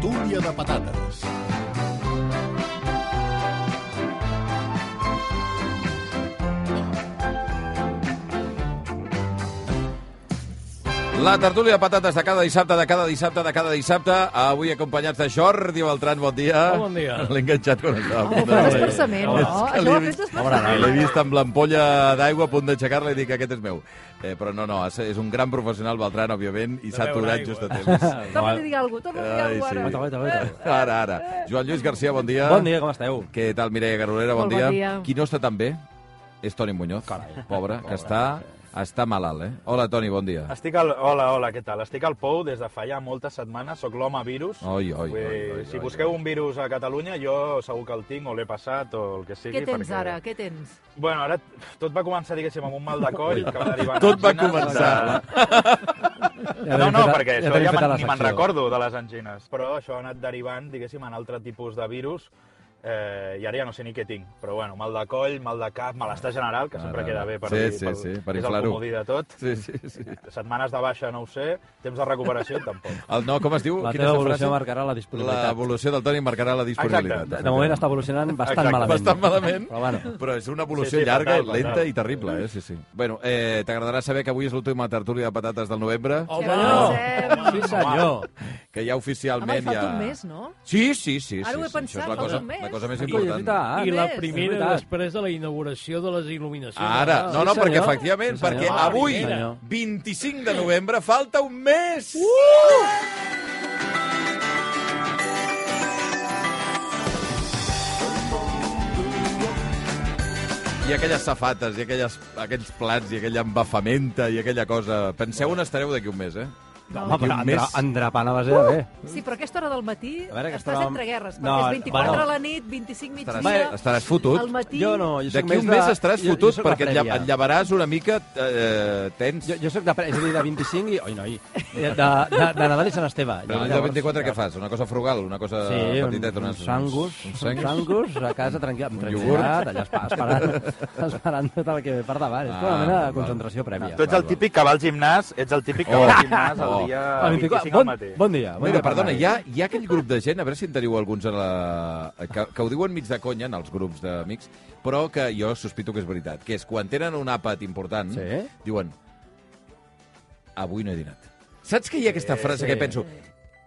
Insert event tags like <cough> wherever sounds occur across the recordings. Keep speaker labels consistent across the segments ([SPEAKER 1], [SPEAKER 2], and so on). [SPEAKER 1] tortilla de patates.
[SPEAKER 2] La tertúlia de patates de cada dissabte, de cada dissabte, de cada dissabte. Avui acompanyats de Jordi Beltran, bon dia.
[SPEAKER 3] Oh, Bon dia.
[SPEAKER 2] <laughs> L'he enganxat quan estava.
[SPEAKER 4] Ho fas expressament, no? Això ho fes expressament.
[SPEAKER 2] L'he vist amb l'ampolla d'aigua a punt d'aixecar-la i dic que aquest és meu. Eh, però no, no, és- és un gran professional, Beltran, òbviament, i s'ha
[SPEAKER 3] beure
[SPEAKER 2] aturat
[SPEAKER 3] aigua.
[SPEAKER 2] just a temps.
[SPEAKER 4] Torna a dir alguna cosa, torna a
[SPEAKER 2] Ai,
[SPEAKER 4] dir
[SPEAKER 2] sí.
[SPEAKER 4] alguna
[SPEAKER 3] Aguanta,
[SPEAKER 4] cosa.
[SPEAKER 3] aguanta,
[SPEAKER 4] Eh,
[SPEAKER 3] aguanta.
[SPEAKER 2] Ara, ara. Joan Lluís Garcia, bon dia.
[SPEAKER 3] Bon dia, com esteu?
[SPEAKER 2] Què tal, Mireia Garolera? Bon,
[SPEAKER 4] Molt bon dia.
[SPEAKER 2] Qui no està tan bé és Toni Muñoz, pobre, que està, està malalt, eh? Hola, Toni, bon dia.
[SPEAKER 5] Estic al... Hola, hola, què tal? Estic al POU des de fa ja moltes setmanes, sóc l'home virus.
[SPEAKER 2] Oi, oi,
[SPEAKER 5] Vull
[SPEAKER 2] oi,
[SPEAKER 5] dir,
[SPEAKER 2] oi,
[SPEAKER 5] si
[SPEAKER 2] oi,
[SPEAKER 5] busqueu
[SPEAKER 2] oi.
[SPEAKER 5] un virus a Catalunya, jo segur que el tinc o l'he passat o el que sigui.
[SPEAKER 4] Què tens
[SPEAKER 5] perquè...
[SPEAKER 4] ara? Què tens?
[SPEAKER 5] Bueno, ara tot va començar, diguéssim, amb un mal de coll que va derivar...
[SPEAKER 2] <laughs>
[SPEAKER 5] en
[SPEAKER 2] Tot va
[SPEAKER 5] angines.
[SPEAKER 2] començar.
[SPEAKER 5] No, no, perquè això ja,
[SPEAKER 3] tenim feta
[SPEAKER 5] ja
[SPEAKER 3] la
[SPEAKER 5] ni me'n
[SPEAKER 3] secció.
[SPEAKER 5] recordo de les angines. Però això ha anat derivant, diguéssim, en altre tipus de virus eh, i ara ja no sé ni què tinc. Però bueno, mal de coll, mal de cap, malestar general, que sempre
[SPEAKER 2] Ara,
[SPEAKER 5] queda bé per
[SPEAKER 2] sí,
[SPEAKER 5] dir...
[SPEAKER 2] sí,
[SPEAKER 5] pel-
[SPEAKER 2] sí, per
[SPEAKER 5] és el
[SPEAKER 2] inflar-ho.
[SPEAKER 5] comodí de tot.
[SPEAKER 2] Sí, sí, sí.
[SPEAKER 5] Setmanes de baixa, no ho sé. Temps de recuperació, <laughs> tampoc.
[SPEAKER 2] El, no, com es diu?
[SPEAKER 3] La
[SPEAKER 2] Quina
[SPEAKER 3] teva
[SPEAKER 2] és
[SPEAKER 3] evolució
[SPEAKER 2] frase?
[SPEAKER 3] marcarà la disponibilitat.
[SPEAKER 2] L'evolució del Toni marcarà la disponibilitat.
[SPEAKER 5] Exacte.
[SPEAKER 3] De moment està evolucionant bastant
[SPEAKER 5] Exacte.
[SPEAKER 3] malament.
[SPEAKER 2] Bastant malament.
[SPEAKER 3] Però bueno,
[SPEAKER 2] Però és una evolució
[SPEAKER 5] Sí,
[SPEAKER 2] sí,
[SPEAKER 5] sí,
[SPEAKER 2] sí, llarga,
[SPEAKER 5] fatal, fatal.
[SPEAKER 2] lenta i terrible, eh? Sí, sí. Bueno, eh, t'agradarà saber que avui és l'última tertúlia de patates del novembre, oh.
[SPEAKER 4] Que
[SPEAKER 3] no!
[SPEAKER 4] avancem.
[SPEAKER 3] sí senyor.
[SPEAKER 2] que ja
[SPEAKER 4] Home,
[SPEAKER 2] oficialment
[SPEAKER 4] falta
[SPEAKER 2] ja...
[SPEAKER 4] un mes, no?
[SPEAKER 2] Sí, sí, sí.
[SPEAKER 4] Ara
[SPEAKER 2] sí,
[SPEAKER 4] ho he
[SPEAKER 2] sí. Això
[SPEAKER 4] pensat,
[SPEAKER 2] és la
[SPEAKER 4] falta
[SPEAKER 2] cosa,
[SPEAKER 4] un mes.
[SPEAKER 2] la cosa més
[SPEAKER 3] Sí,
[SPEAKER 2] important.
[SPEAKER 3] ah,
[SPEAKER 6] I la
[SPEAKER 4] Més,
[SPEAKER 3] és
[SPEAKER 6] primera
[SPEAKER 3] veritat.
[SPEAKER 6] després de la inauguració de les il·luminacions.
[SPEAKER 2] Ara, no, no,
[SPEAKER 3] Sí,
[SPEAKER 2] perquè
[SPEAKER 3] senyor.
[SPEAKER 2] efectivament,
[SPEAKER 3] Sí, senyor.
[SPEAKER 2] perquè
[SPEAKER 3] Ah,
[SPEAKER 2] avui,
[SPEAKER 3] sí, senyor.
[SPEAKER 2] 25 de novembre, falta un mes! Uh! I aquelles safates, i aquelles, aquells plats, i aquella embafamenta, i aquella cosa... Penseu on estareu d'aquí un mes, eh?
[SPEAKER 3] Home, però
[SPEAKER 2] Un mes.
[SPEAKER 3] endra, endrapant a base de bé.
[SPEAKER 4] Sí, però a aquesta hora del matí
[SPEAKER 3] A veure, que
[SPEAKER 4] estàs
[SPEAKER 3] estàvem-
[SPEAKER 4] entre guerres, perquè
[SPEAKER 3] No,
[SPEAKER 4] és 24
[SPEAKER 3] bueno.
[SPEAKER 4] a la nit, 25 migdia,
[SPEAKER 2] Estaràs, estaràs
[SPEAKER 4] al
[SPEAKER 2] fotut.
[SPEAKER 4] matí...
[SPEAKER 3] Jo no, jo soc
[SPEAKER 2] D'aquí
[SPEAKER 3] més
[SPEAKER 2] un
[SPEAKER 3] de...
[SPEAKER 2] mes estaràs
[SPEAKER 3] jo- jo
[SPEAKER 2] fotut
[SPEAKER 3] soc la
[SPEAKER 2] perquè et, lla-
[SPEAKER 3] prèvia.
[SPEAKER 2] et llevaràs una mica eh, tens.
[SPEAKER 3] Jo, jo soc de, pre- és a dir, de 25 i... Oi, <laughs> noi. De, de, de, de Nadal i Sant Esteve.
[SPEAKER 2] Però el dia 24 què fas? Una cosa frugal, una cosa
[SPEAKER 3] Sí,
[SPEAKER 2] petiteta?
[SPEAKER 3] un,
[SPEAKER 2] una-
[SPEAKER 3] uns sangus,
[SPEAKER 2] Un
[SPEAKER 3] uns
[SPEAKER 2] sangus?
[SPEAKER 3] sangus a casa tranquil, amb
[SPEAKER 2] iogurt.
[SPEAKER 3] tranquil·litat, allà espa- esperant, esperant <laughs> tot el que ve per davant. És com
[SPEAKER 2] Ah,
[SPEAKER 3] una mena
[SPEAKER 2] val.
[SPEAKER 3] de concentració prèvia.
[SPEAKER 5] Tu ets
[SPEAKER 2] Val,
[SPEAKER 5] el
[SPEAKER 2] val.
[SPEAKER 5] típic que va al gimnàs, ets el típic que
[SPEAKER 2] Oh.
[SPEAKER 5] va al gimnàs el
[SPEAKER 2] Oh.
[SPEAKER 5] dia
[SPEAKER 3] Ah,
[SPEAKER 5] 25
[SPEAKER 3] bon,
[SPEAKER 5] al matí.
[SPEAKER 3] bon dia. Bon
[SPEAKER 2] Mira,
[SPEAKER 3] dia per
[SPEAKER 2] perdona,
[SPEAKER 3] anar.
[SPEAKER 2] hi ha, hi ha aquell grup de gent, a veure si en teniu alguns a la... que, que ho diuen mig de conya en els grups d'amics, però que jo sospito que és veritat, que és quan tenen un àpat important,
[SPEAKER 3] Sí.
[SPEAKER 2] diuen avui no he dinat. Saps que hi ha aquesta frase
[SPEAKER 3] sí.
[SPEAKER 2] que penso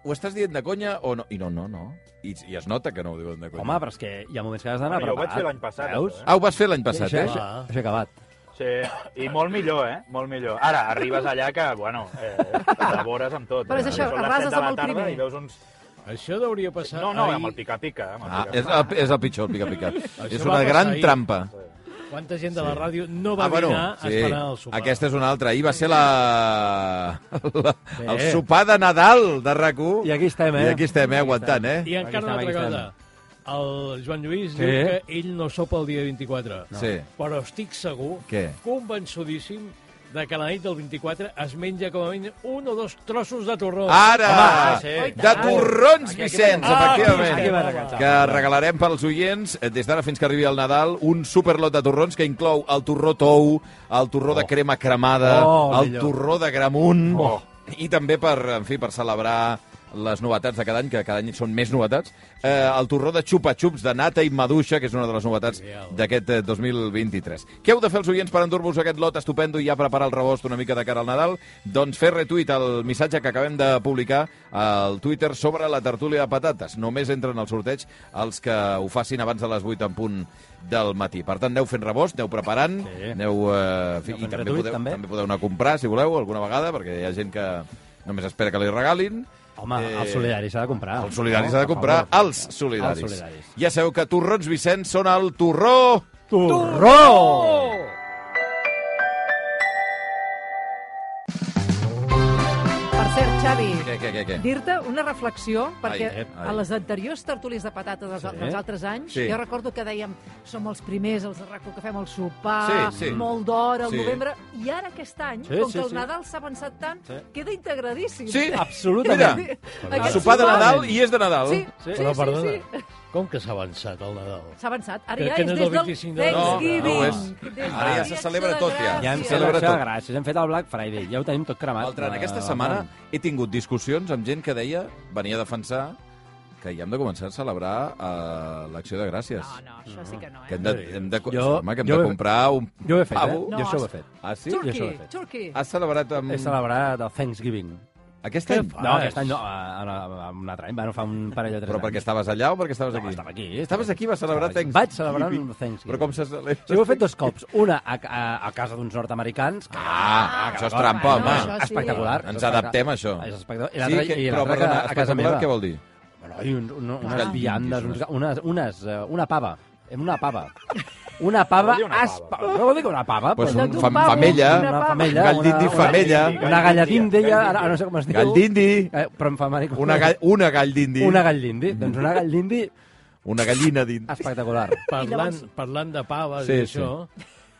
[SPEAKER 2] ho estàs dient de conya o no? I no, no, no. I, i es nota que no ho diuen de conya.
[SPEAKER 3] Home, però és que hi ha moments que has d'anar
[SPEAKER 5] Bueno, jo ho vaig
[SPEAKER 3] preparat.
[SPEAKER 5] fer l'any passat, eh?
[SPEAKER 3] Veus?
[SPEAKER 5] això,
[SPEAKER 2] Ah, ho vas fer l'any passat,
[SPEAKER 3] Això,
[SPEAKER 2] eh?
[SPEAKER 3] això,
[SPEAKER 6] Ah.
[SPEAKER 3] això he acabat.
[SPEAKER 5] Sí, i molt millor, eh? Molt millor. Ara, arribes allà que, bueno, eh, t'elabores amb tot.
[SPEAKER 4] Però és
[SPEAKER 5] Eh?
[SPEAKER 4] això,
[SPEAKER 5] Són les
[SPEAKER 4] arrases
[SPEAKER 5] set de la
[SPEAKER 4] amb el
[SPEAKER 5] tarda
[SPEAKER 4] primer.
[SPEAKER 5] I veus uns...
[SPEAKER 6] Això hauria passat
[SPEAKER 5] No, no,
[SPEAKER 6] ahir.
[SPEAKER 5] amb el pica-pica. eh, Amb
[SPEAKER 2] Ah,
[SPEAKER 5] el
[SPEAKER 2] és,
[SPEAKER 5] pica-pica.
[SPEAKER 2] el, és el pitjor, el pica-pica. és
[SPEAKER 6] va
[SPEAKER 2] una
[SPEAKER 6] passar
[SPEAKER 2] gran
[SPEAKER 6] ahir.
[SPEAKER 2] trampa.
[SPEAKER 6] Quanta gent de la ràdio no va dinar esperant el sopar.
[SPEAKER 2] Ah, Aquesta és una altra. Ahir va ser la... la...
[SPEAKER 3] Bé.
[SPEAKER 2] el sopar de Nadal de rac
[SPEAKER 3] I aquí estem, eh?
[SPEAKER 2] I aquí estem, eh? Aguantant, eh?
[SPEAKER 6] I encara una
[SPEAKER 3] Aquí
[SPEAKER 6] altra
[SPEAKER 3] estem, aquí
[SPEAKER 6] cosa. El Joan Lluís
[SPEAKER 3] Sí.
[SPEAKER 6] diu que ell no sopa el dia 24.
[SPEAKER 2] No. Sí.
[SPEAKER 6] Però estic segur,
[SPEAKER 2] Què?
[SPEAKER 6] convençudíssim, de que la nit del 24 es menja com a mínim un o dos trossos de torró.
[SPEAKER 2] Ara!
[SPEAKER 6] Home, sí, sí.
[SPEAKER 2] De torrons, Vicenç,
[SPEAKER 6] Ah, aquí
[SPEAKER 3] Aquí va
[SPEAKER 2] efectivament.
[SPEAKER 3] regatar.
[SPEAKER 2] Que regalarem pels oients, eh, des d'ara fins que arribi el Nadal, un superlot de torrons que inclou el torró tou, el torró de crema cremada,
[SPEAKER 3] Oh,
[SPEAKER 2] el
[SPEAKER 3] millor.
[SPEAKER 2] torró de gramunt,
[SPEAKER 5] Oh.
[SPEAKER 2] i també per, en fi, per celebrar les novetats de cada any, que cada any són més novetats, eh, el torró de xupa-xups de nata i maduixa, que és una de les novetats d'aquest eh, 2023. Què heu de fer els oients per endur-vos aquest lot estupendo i ja preparar el rebost una mica de cara al Nadal? Doncs fer retuit al missatge que acabem de publicar al Twitter sobre la tertúlia de patates. Només entren al sorteig els que ho facin abans de les 8 en punt del matí. Per tant, aneu fent rebost, aneu preparant,
[SPEAKER 3] Sí.
[SPEAKER 2] aneu... Eh, fi,
[SPEAKER 3] Aneu
[SPEAKER 2] I
[SPEAKER 3] fent
[SPEAKER 2] també
[SPEAKER 3] retuit,
[SPEAKER 2] podeu,
[SPEAKER 3] també.
[SPEAKER 2] també podeu anar a comprar, si voleu, alguna vegada, perquè hi ha gent que només espera que li regalin.
[SPEAKER 3] Home, el solidari s'ha de comprar.
[SPEAKER 2] Els Eh, solidaris
[SPEAKER 3] Ah, No,
[SPEAKER 2] ha de
[SPEAKER 3] per
[SPEAKER 2] comprar
[SPEAKER 3] favor.
[SPEAKER 2] els solidaris.
[SPEAKER 3] Els solidaris.
[SPEAKER 2] Ja sabeu que torrons Vicenç són el torró...
[SPEAKER 4] Oh!
[SPEAKER 3] Torró!
[SPEAKER 4] Per cert, Xavi,
[SPEAKER 2] Què, què, què? què?
[SPEAKER 4] dir-te una reflexió, perquè
[SPEAKER 2] Ai, eh, ai.
[SPEAKER 4] a les anteriors tertúlies de patates dels,
[SPEAKER 3] Sí.
[SPEAKER 4] dels altres anys,
[SPEAKER 2] Sí.
[SPEAKER 4] jo recordo que dèiem som els primers, els de RACO, que fem el sopar,
[SPEAKER 2] Sí, sí.
[SPEAKER 4] molt d'hora, al
[SPEAKER 2] Sí.
[SPEAKER 4] novembre, i ara aquest any,
[SPEAKER 3] Sí,
[SPEAKER 4] com
[SPEAKER 3] sí,
[SPEAKER 4] que el
[SPEAKER 3] sí.
[SPEAKER 4] Nadal s'ha avançat tant,
[SPEAKER 3] Sí.
[SPEAKER 4] queda integradíssim.
[SPEAKER 2] Sí,
[SPEAKER 3] Absolutament.
[SPEAKER 2] Mira,
[SPEAKER 4] <laughs> Aquest
[SPEAKER 2] sopar de Nadal i és de Nadal.
[SPEAKER 4] Sí, sí,
[SPEAKER 6] Però,
[SPEAKER 4] sí,
[SPEAKER 6] perdona,
[SPEAKER 4] sí.
[SPEAKER 6] com que s'ha avançat el Nadal?
[SPEAKER 4] S'ha avançat. Ara
[SPEAKER 6] Crec
[SPEAKER 4] ja
[SPEAKER 6] que
[SPEAKER 4] és
[SPEAKER 6] no és
[SPEAKER 4] des
[SPEAKER 6] el
[SPEAKER 4] del
[SPEAKER 6] 25 de
[SPEAKER 4] Thanksgiving.
[SPEAKER 2] No, no, no
[SPEAKER 4] Des
[SPEAKER 2] ho és.
[SPEAKER 4] del
[SPEAKER 2] Ara ja se
[SPEAKER 4] Dia
[SPEAKER 2] celebra
[SPEAKER 4] de
[SPEAKER 2] tot, ja.
[SPEAKER 3] Ja hem
[SPEAKER 4] Gràcies.
[SPEAKER 2] Sí, celebrat
[SPEAKER 3] celebrat
[SPEAKER 2] tot.
[SPEAKER 3] tot. Gràcies, hem fet el Black Friday. Ja ho tenim tot cremat.
[SPEAKER 2] Beltran,
[SPEAKER 3] Eh,
[SPEAKER 2] aquesta setmana
[SPEAKER 3] Beltran.
[SPEAKER 2] he tingut discussions amb gent que deia, venia a defensar, que ja hem de començar a celebrar eh, l'acció de gràcies.
[SPEAKER 4] No, no, això sí que no, eh?
[SPEAKER 2] Que hem de, hem de, co-
[SPEAKER 3] Jo-
[SPEAKER 2] sí, home, que hem
[SPEAKER 3] jo
[SPEAKER 2] de
[SPEAKER 3] he-
[SPEAKER 2] comprar un
[SPEAKER 3] Jo ho he fet, eh?
[SPEAKER 2] pavo.
[SPEAKER 3] Jo això ho he fet.
[SPEAKER 2] Ah, sí?
[SPEAKER 3] Turc.
[SPEAKER 4] Turqui,
[SPEAKER 3] això ho he fet.
[SPEAKER 4] Turqui.
[SPEAKER 2] Has celebrat amb...
[SPEAKER 3] He celebrat el Thanksgiving.
[SPEAKER 2] Aquest any?
[SPEAKER 3] No, aquest any no, a- a- a- a un altre any, bueno, fa un parell o tres
[SPEAKER 2] Però perquè
[SPEAKER 3] anys.
[SPEAKER 2] estaves allà o perquè estaves
[SPEAKER 3] No,
[SPEAKER 2] aquí?
[SPEAKER 3] estava aquí.
[SPEAKER 2] Estaves aquí, vas celebrar
[SPEAKER 3] Estava aquí.
[SPEAKER 2] Thanksgiving.
[SPEAKER 3] Vaig celebrar un Thanksgiving.
[SPEAKER 2] Però com se celebra?
[SPEAKER 3] Sí, ho he fet
[SPEAKER 2] <laughs>
[SPEAKER 3] dos cops. Una a, a, a casa d'uns nord-americans. Que,
[SPEAKER 2] Ah, això és
[SPEAKER 3] que-
[SPEAKER 2] trampa,
[SPEAKER 4] home. Això sí.
[SPEAKER 3] Espectacular.
[SPEAKER 2] Ens adaptem a això.
[SPEAKER 3] És espectacular. I l'altra
[SPEAKER 2] sí, que,
[SPEAKER 3] i
[SPEAKER 2] però
[SPEAKER 3] l'altra que
[SPEAKER 2] perdona,
[SPEAKER 3] a casa
[SPEAKER 2] espectacular,
[SPEAKER 3] meva...
[SPEAKER 2] què vol dir?
[SPEAKER 3] Bueno, i un, un, unes
[SPEAKER 2] Ostres,
[SPEAKER 3] viandes,
[SPEAKER 2] quin
[SPEAKER 3] uns, unes, unes, eh, una pava. Em- Una pava. Una pava...
[SPEAKER 5] Vol dir una
[SPEAKER 3] aspa-
[SPEAKER 5] pava, però.
[SPEAKER 3] No vol dir que una pava?
[SPEAKER 2] Pues
[SPEAKER 3] però-
[SPEAKER 2] un fam- femella,
[SPEAKER 4] una
[SPEAKER 3] una
[SPEAKER 4] pava.
[SPEAKER 3] femella,
[SPEAKER 2] un gall dindi
[SPEAKER 3] una-
[SPEAKER 2] femella.
[SPEAKER 3] Una galladín d'ella, ara ara no sé com es diu.
[SPEAKER 2] Gallindi.
[SPEAKER 3] Eh, però en femení...
[SPEAKER 2] Una, gall, una gall d'indi.
[SPEAKER 3] Una gallindi. Doncs una gallindi
[SPEAKER 2] Una gallina d'indi.
[SPEAKER 3] espectacular.
[SPEAKER 6] Parlant, parlant de paves
[SPEAKER 2] Sí,
[SPEAKER 6] i això...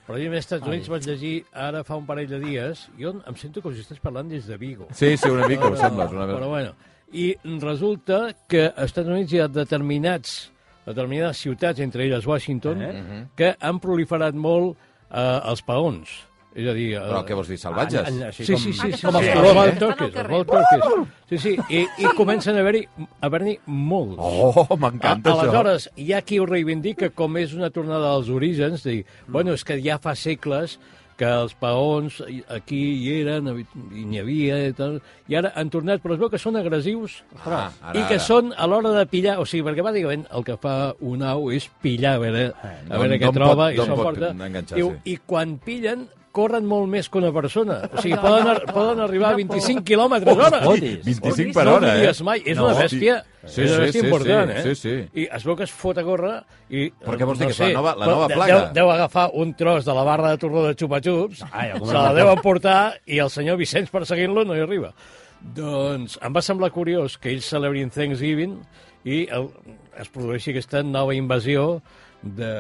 [SPEAKER 6] Però jo als Estats Units vaig llegir ara fa un parell de dies, jo em sento com si estàs parlant des de Vigo.
[SPEAKER 2] Sí, sí, una mica,
[SPEAKER 6] Però-
[SPEAKER 2] em sembla. és Una...
[SPEAKER 6] Però bueno, i resulta que als Estats Units hi ha determinats, determinades ciutats, entre elles Washington,
[SPEAKER 2] Mhm.
[SPEAKER 6] eh? que han proliferat molt eh, els paons. És a dir... Eh,
[SPEAKER 2] Però què vols dir, salvatges?
[SPEAKER 3] En- en-
[SPEAKER 6] Sí,
[SPEAKER 3] així
[SPEAKER 6] sí,
[SPEAKER 3] com-
[SPEAKER 6] sí, sí, sí,
[SPEAKER 4] Aquestes
[SPEAKER 6] com els
[SPEAKER 4] sí, sí.
[SPEAKER 6] sí, sí,
[SPEAKER 4] Estan al
[SPEAKER 6] turques, els
[SPEAKER 4] carrer.
[SPEAKER 6] World Turkeys. Sí, sí, i, i comencen a haver-hi a haver molts.
[SPEAKER 2] Oh, m'encanta
[SPEAKER 6] A-
[SPEAKER 2] això.
[SPEAKER 6] Aleshores, hi ha qui ho reivindica com és una tornada als orígens, dir,
[SPEAKER 2] Mm.
[SPEAKER 6] bueno, és que ja fa segles que els paons i- aquí hi eren, habi- i n'hi havia, i, tal, i ara han tornat, però es veu que són agressius
[SPEAKER 2] Ah, ara,
[SPEAKER 6] i que
[SPEAKER 2] ara.
[SPEAKER 6] són a l'hora de pillar, o sigui, perquè bàsicament el que fa un au és pillar, a veure, a
[SPEAKER 2] d'on-
[SPEAKER 6] veure què
[SPEAKER 2] d'on
[SPEAKER 6] troba,
[SPEAKER 2] Eh, pot-
[SPEAKER 6] i
[SPEAKER 2] d'on
[SPEAKER 6] se'n
[SPEAKER 2] pot
[SPEAKER 6] porta.
[SPEAKER 2] enganxar,
[SPEAKER 6] Diu,
[SPEAKER 2] sí.
[SPEAKER 6] I quan pillen, corren molt més que una persona. O sigui, poden, ar- poden arribar a 25 quilòmetres hora.
[SPEAKER 3] fotis.
[SPEAKER 2] 25 per hora,
[SPEAKER 6] No
[SPEAKER 2] eh?
[SPEAKER 6] digues mai, és
[SPEAKER 2] No,
[SPEAKER 6] una bèstia,
[SPEAKER 2] sí.
[SPEAKER 6] sí, és una bèstia
[SPEAKER 2] sí, sí,
[SPEAKER 6] important,
[SPEAKER 2] sí, sí,
[SPEAKER 6] eh?
[SPEAKER 2] sí.
[SPEAKER 6] I es veu que es fot a córrer i...
[SPEAKER 2] Però què vols dir,
[SPEAKER 6] no
[SPEAKER 2] que és la
[SPEAKER 6] sé,
[SPEAKER 2] nova- la
[SPEAKER 6] però
[SPEAKER 2] nova
[SPEAKER 6] de-
[SPEAKER 2] plaga?
[SPEAKER 6] Deu, deu agafar un tros de la barra de torró de xupa-xups,
[SPEAKER 3] Ai, alguna
[SPEAKER 6] se la
[SPEAKER 3] cosa.
[SPEAKER 6] deu emportar i el senyor Vicenç perseguint-lo no hi arriba. Doncs em va semblar curiós que ells celebrin Thanksgiving i el, es produeixi aquesta nova invasió de,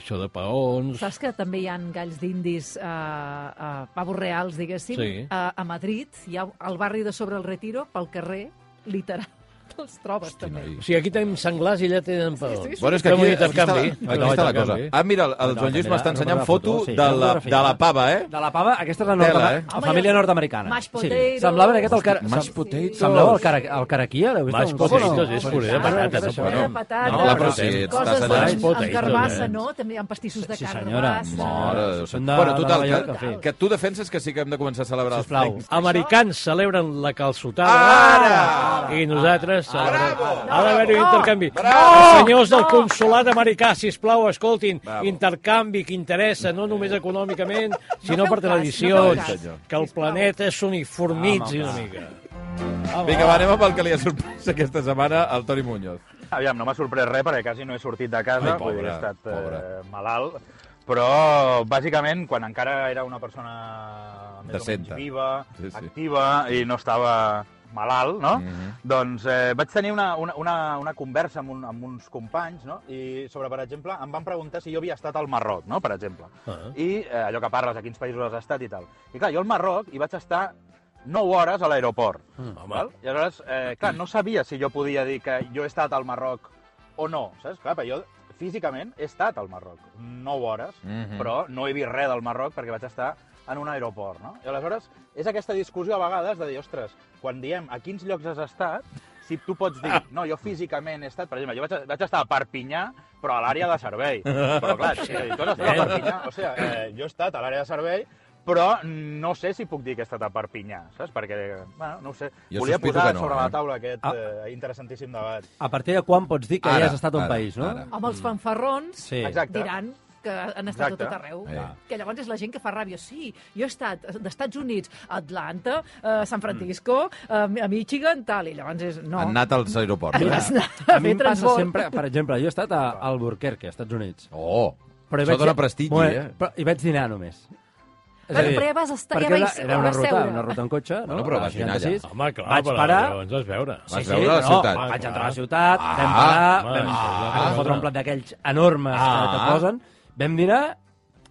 [SPEAKER 6] això de paons...
[SPEAKER 4] Saps que també hi ha galls d'indis eh, a pavos reals, diguéssim,
[SPEAKER 6] Sí.
[SPEAKER 4] a, a Madrid, hi ha al barri de sobre el Retiro, pel carrer, literal, <laughs> els trobes també.
[SPEAKER 2] noi.
[SPEAKER 6] O sigui, aquí tenim senglars i allà tenen paons.
[SPEAKER 4] sí, sí.
[SPEAKER 2] Bueno, és que
[SPEAKER 6] Fem
[SPEAKER 2] aquí,
[SPEAKER 6] un
[SPEAKER 2] aquí, està, la,
[SPEAKER 6] intercanvi. Fem
[SPEAKER 2] aquí està
[SPEAKER 6] un
[SPEAKER 2] la cosa.
[SPEAKER 6] intercanvi.
[SPEAKER 2] Ah, mira, el, el Joan Lluís m'està ensenyant foto de la, de la pava, eh?
[SPEAKER 3] De la pava, aquesta és la,
[SPEAKER 2] Tela,
[SPEAKER 3] nord
[SPEAKER 2] eh?
[SPEAKER 3] la família nord-americana.
[SPEAKER 4] Mashed potatoes.
[SPEAKER 3] Semblava aquest el, car
[SPEAKER 2] Mashed
[SPEAKER 3] sem-
[SPEAKER 2] potatoes.
[SPEAKER 3] Semblava el, cara el caraquí, l'heu vist?
[SPEAKER 6] Mashed
[SPEAKER 3] algun cop o
[SPEAKER 6] potatoes és puré de
[SPEAKER 3] Ah, no,
[SPEAKER 6] patates, no,
[SPEAKER 3] això,
[SPEAKER 2] eh,
[SPEAKER 4] Bueno,
[SPEAKER 2] Bueno,
[SPEAKER 4] de patates,
[SPEAKER 2] no,
[SPEAKER 6] però si
[SPEAKER 2] estàs
[SPEAKER 4] coses
[SPEAKER 2] allà-
[SPEAKER 4] amb, amb
[SPEAKER 6] Escolta,
[SPEAKER 4] carbassa,
[SPEAKER 6] eh?
[SPEAKER 4] no? També amb pastissos de
[SPEAKER 3] Sí, senyora.
[SPEAKER 4] carbassa.
[SPEAKER 2] Mare de Déu.
[SPEAKER 3] Són de-
[SPEAKER 2] bueno,
[SPEAKER 3] de
[SPEAKER 2] total,
[SPEAKER 3] Nova
[SPEAKER 2] que,
[SPEAKER 3] York.
[SPEAKER 2] que tu defenses que sí que hem de començar a celebrar els
[SPEAKER 3] Sisplau.
[SPEAKER 2] Thanks.
[SPEAKER 6] americans celebren la calçotada
[SPEAKER 2] Ara!
[SPEAKER 6] i nosaltres celebrem.
[SPEAKER 2] Bravo!
[SPEAKER 6] Ha d'haver-hi un intercanvi.
[SPEAKER 2] Bravo!
[SPEAKER 6] Els senyors del consulat americà, si plau, escoltin,
[SPEAKER 2] Bravo.
[SPEAKER 6] intercanvi que interessa, no només econòmicament, sinó
[SPEAKER 4] feu
[SPEAKER 6] per
[SPEAKER 4] cas, no
[SPEAKER 6] tradicions,
[SPEAKER 4] feu cas.
[SPEAKER 6] que el planeta s'uniformitzi una mica.
[SPEAKER 3] Oh.
[SPEAKER 2] Vinga, va, anem amb el que li ha sorprès aquesta setmana al Toni Muñoz.
[SPEAKER 5] Aviam, no m'ha sorprès res perquè quasi no he sortit de casa,
[SPEAKER 2] Ai, pobre,
[SPEAKER 5] vull dir, he estat
[SPEAKER 2] pobre.
[SPEAKER 5] eh, malalt, però bàsicament quan encara era una persona més o
[SPEAKER 2] Decenta.
[SPEAKER 5] menys viva,
[SPEAKER 2] Sí, sí.
[SPEAKER 5] activa i no estava malalt, no?
[SPEAKER 6] Mhm.
[SPEAKER 5] Doncs eh, vaig tenir una, una, una, una conversa amb, un, amb uns companys, no? I sobre, per exemple, em van preguntar si jo havia estat al Marroc, no?, per exemple.
[SPEAKER 6] Ah.
[SPEAKER 5] I eh, allò que parles, a quins països has estat i tal. I clar, jo al Marroc hi vaig estar 9 hores a l'aeroport.
[SPEAKER 6] Mm, Home.
[SPEAKER 5] Val? I aleshores, eh, clar, no sabia si jo podia dir que jo he estat al Marroc o no, saps? Clar, perquè jo físicament he estat al Marroc 9 hores,
[SPEAKER 2] Mhm.
[SPEAKER 5] però no he vist res del Marroc perquè vaig estar en un aeroport, no? I aleshores, és aquesta discussió a vegades de dir, ostres, quan diem a quins llocs has estat, si tu pots dir, no, jo físicament he estat, per exemple, jo vaig, vaig estar a Perpinyà, però a l'àrea de servei. Però clar, si tu has estat a Perpinyà, o sigui, eh, jo he estat a l'àrea de servei, però no sé si puc dir que he estat a Perpinyà, saps? Perquè, bueno, no ho sé.
[SPEAKER 2] Jo
[SPEAKER 5] Volia
[SPEAKER 2] sospito
[SPEAKER 5] posar
[SPEAKER 2] que no,
[SPEAKER 5] sobre
[SPEAKER 2] eh?
[SPEAKER 5] la taula aquest
[SPEAKER 3] Ah.
[SPEAKER 5] eh, interessantíssim debat.
[SPEAKER 3] A partir de quan pots dir que
[SPEAKER 2] Ara,
[SPEAKER 3] ja has estat a un
[SPEAKER 2] ara,
[SPEAKER 3] país, no?
[SPEAKER 2] ara.
[SPEAKER 4] Amb els fanfarrons
[SPEAKER 3] Sí.
[SPEAKER 5] Exacte.
[SPEAKER 4] diran que han estat
[SPEAKER 5] Exacte.
[SPEAKER 4] a tot arreu.
[SPEAKER 2] Eh.
[SPEAKER 4] Que llavors és la gent que fa ràbia. Sí, jo he estat d'Estats Units a Atlanta, a San Francisco, a, a Michigan, tal, i llavors és... No,
[SPEAKER 2] Han anat als aeroports.
[SPEAKER 4] Mira,
[SPEAKER 2] eh?
[SPEAKER 4] has anat
[SPEAKER 3] A
[SPEAKER 4] a
[SPEAKER 3] mi
[SPEAKER 4] fer
[SPEAKER 3] em passa
[SPEAKER 4] transbord.
[SPEAKER 3] sempre, per exemple, jo he estat a Albuquerque, als Estats Units.
[SPEAKER 2] Oh,
[SPEAKER 3] hi
[SPEAKER 2] això
[SPEAKER 3] vaig-
[SPEAKER 2] dóna prestigi,
[SPEAKER 3] Bueno,
[SPEAKER 2] eh?
[SPEAKER 3] Però hi vaig dinar només. És a
[SPEAKER 4] Bueno,
[SPEAKER 3] dir,
[SPEAKER 4] però ja vas estar-
[SPEAKER 3] perquè
[SPEAKER 4] ja
[SPEAKER 3] era-
[SPEAKER 4] vais-
[SPEAKER 3] era una
[SPEAKER 4] vas
[SPEAKER 3] ruta,
[SPEAKER 4] seure.
[SPEAKER 3] una ruta en cotxe, no?
[SPEAKER 2] Bueno, però
[SPEAKER 3] A
[SPEAKER 2] vas dinar allà.
[SPEAKER 3] 66.
[SPEAKER 6] Home, clar,
[SPEAKER 3] vaig
[SPEAKER 6] però
[SPEAKER 3] parar,
[SPEAKER 6] llavors vas veure.
[SPEAKER 2] Vas veure la
[SPEAKER 3] no,
[SPEAKER 2] ciutat.
[SPEAKER 3] Vaig entrar a
[SPEAKER 6] Ah.
[SPEAKER 3] la ciutat, ah, vam parar,
[SPEAKER 6] Ah.
[SPEAKER 3] vam,
[SPEAKER 6] Ah.
[SPEAKER 3] ah, vam fotre un plat d'aquells enormes ah, que
[SPEAKER 2] Ah.
[SPEAKER 3] te posen, vam dinar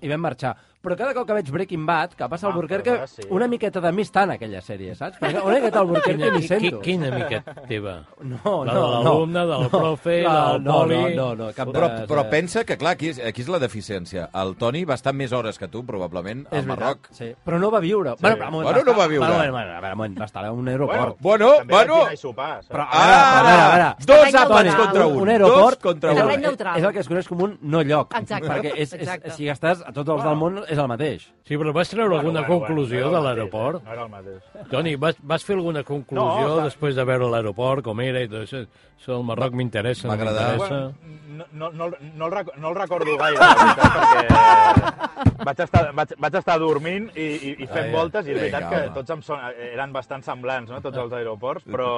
[SPEAKER 3] i vam marxar. però cada cop que veig Breaking Bad, que passa
[SPEAKER 5] Ah,
[SPEAKER 3] al Burquerque,
[SPEAKER 5] però sí.
[SPEAKER 3] una miqueta de mi està en aquella sèrie, saps? Perquè una miqueta al
[SPEAKER 6] <laughs>
[SPEAKER 3] Burquerque m'hi sento.
[SPEAKER 6] quina miqueta teva?
[SPEAKER 3] No, no,
[SPEAKER 6] La de
[SPEAKER 3] no.
[SPEAKER 6] l'alumne, de la profe,
[SPEAKER 3] no,
[SPEAKER 6] del
[SPEAKER 3] no,
[SPEAKER 6] poli.
[SPEAKER 3] No, no, no, cap
[SPEAKER 2] Però,
[SPEAKER 3] de...
[SPEAKER 2] però
[SPEAKER 3] de-
[SPEAKER 2] pensa que, clar, aquí és, aquí és la deficiència. El Toni va estar més hores que tu, probablement, al
[SPEAKER 3] És veritat,
[SPEAKER 2] Marroc.
[SPEAKER 3] sí. Però no va viure. Bueno, però, un moment,
[SPEAKER 2] Bueno, no
[SPEAKER 3] estar-
[SPEAKER 2] va viure.
[SPEAKER 3] Bueno, bueno, bueno, a veure, un moment, va estar a un aeroport.
[SPEAKER 2] Bueno,
[SPEAKER 5] també vaig
[SPEAKER 2] bueno.
[SPEAKER 5] dinar i sopar, saps?
[SPEAKER 3] Però,
[SPEAKER 2] Ah,
[SPEAKER 3] a veure, a veure, a
[SPEAKER 2] Ara,
[SPEAKER 3] veure.
[SPEAKER 2] dos
[SPEAKER 4] Terreny
[SPEAKER 2] àpats
[SPEAKER 4] neutral.
[SPEAKER 2] contra un.
[SPEAKER 3] un aeroport
[SPEAKER 2] Dos contra
[SPEAKER 4] Terreny
[SPEAKER 2] un.
[SPEAKER 4] neutral.
[SPEAKER 3] és el que es coneix com un no lloc.
[SPEAKER 4] Exacte,
[SPEAKER 3] Perquè és, és,
[SPEAKER 4] exacte.
[SPEAKER 3] si gastes a tots els del món és el mateix.
[SPEAKER 6] Sí, però vas treure
[SPEAKER 5] Bueno,
[SPEAKER 6] alguna
[SPEAKER 5] bueno,
[SPEAKER 6] conclusió
[SPEAKER 5] bueno,
[SPEAKER 6] de
[SPEAKER 5] no era el
[SPEAKER 6] l'aeroport?
[SPEAKER 5] mateix, No era el mateix.
[SPEAKER 6] Toni, vas, vas fer alguna conclusió
[SPEAKER 5] No, clar.
[SPEAKER 6] després de veure l'aeroport, com era i tot això? Això del Marroc m'interessa, no
[SPEAKER 2] M'agradava.
[SPEAKER 6] m'interessa.
[SPEAKER 5] Bueno, no, no, no, el- no, el, rec- no el recordo gaire, la veritat, perquè vaig estar, vaig, vaig estar dormint i, i, i fent
[SPEAKER 2] Ai,
[SPEAKER 5] voltes, i és
[SPEAKER 2] vinga,
[SPEAKER 5] veritat que
[SPEAKER 2] home.
[SPEAKER 5] tots em son, eren bastant semblants, no?, tots els aeroports, però...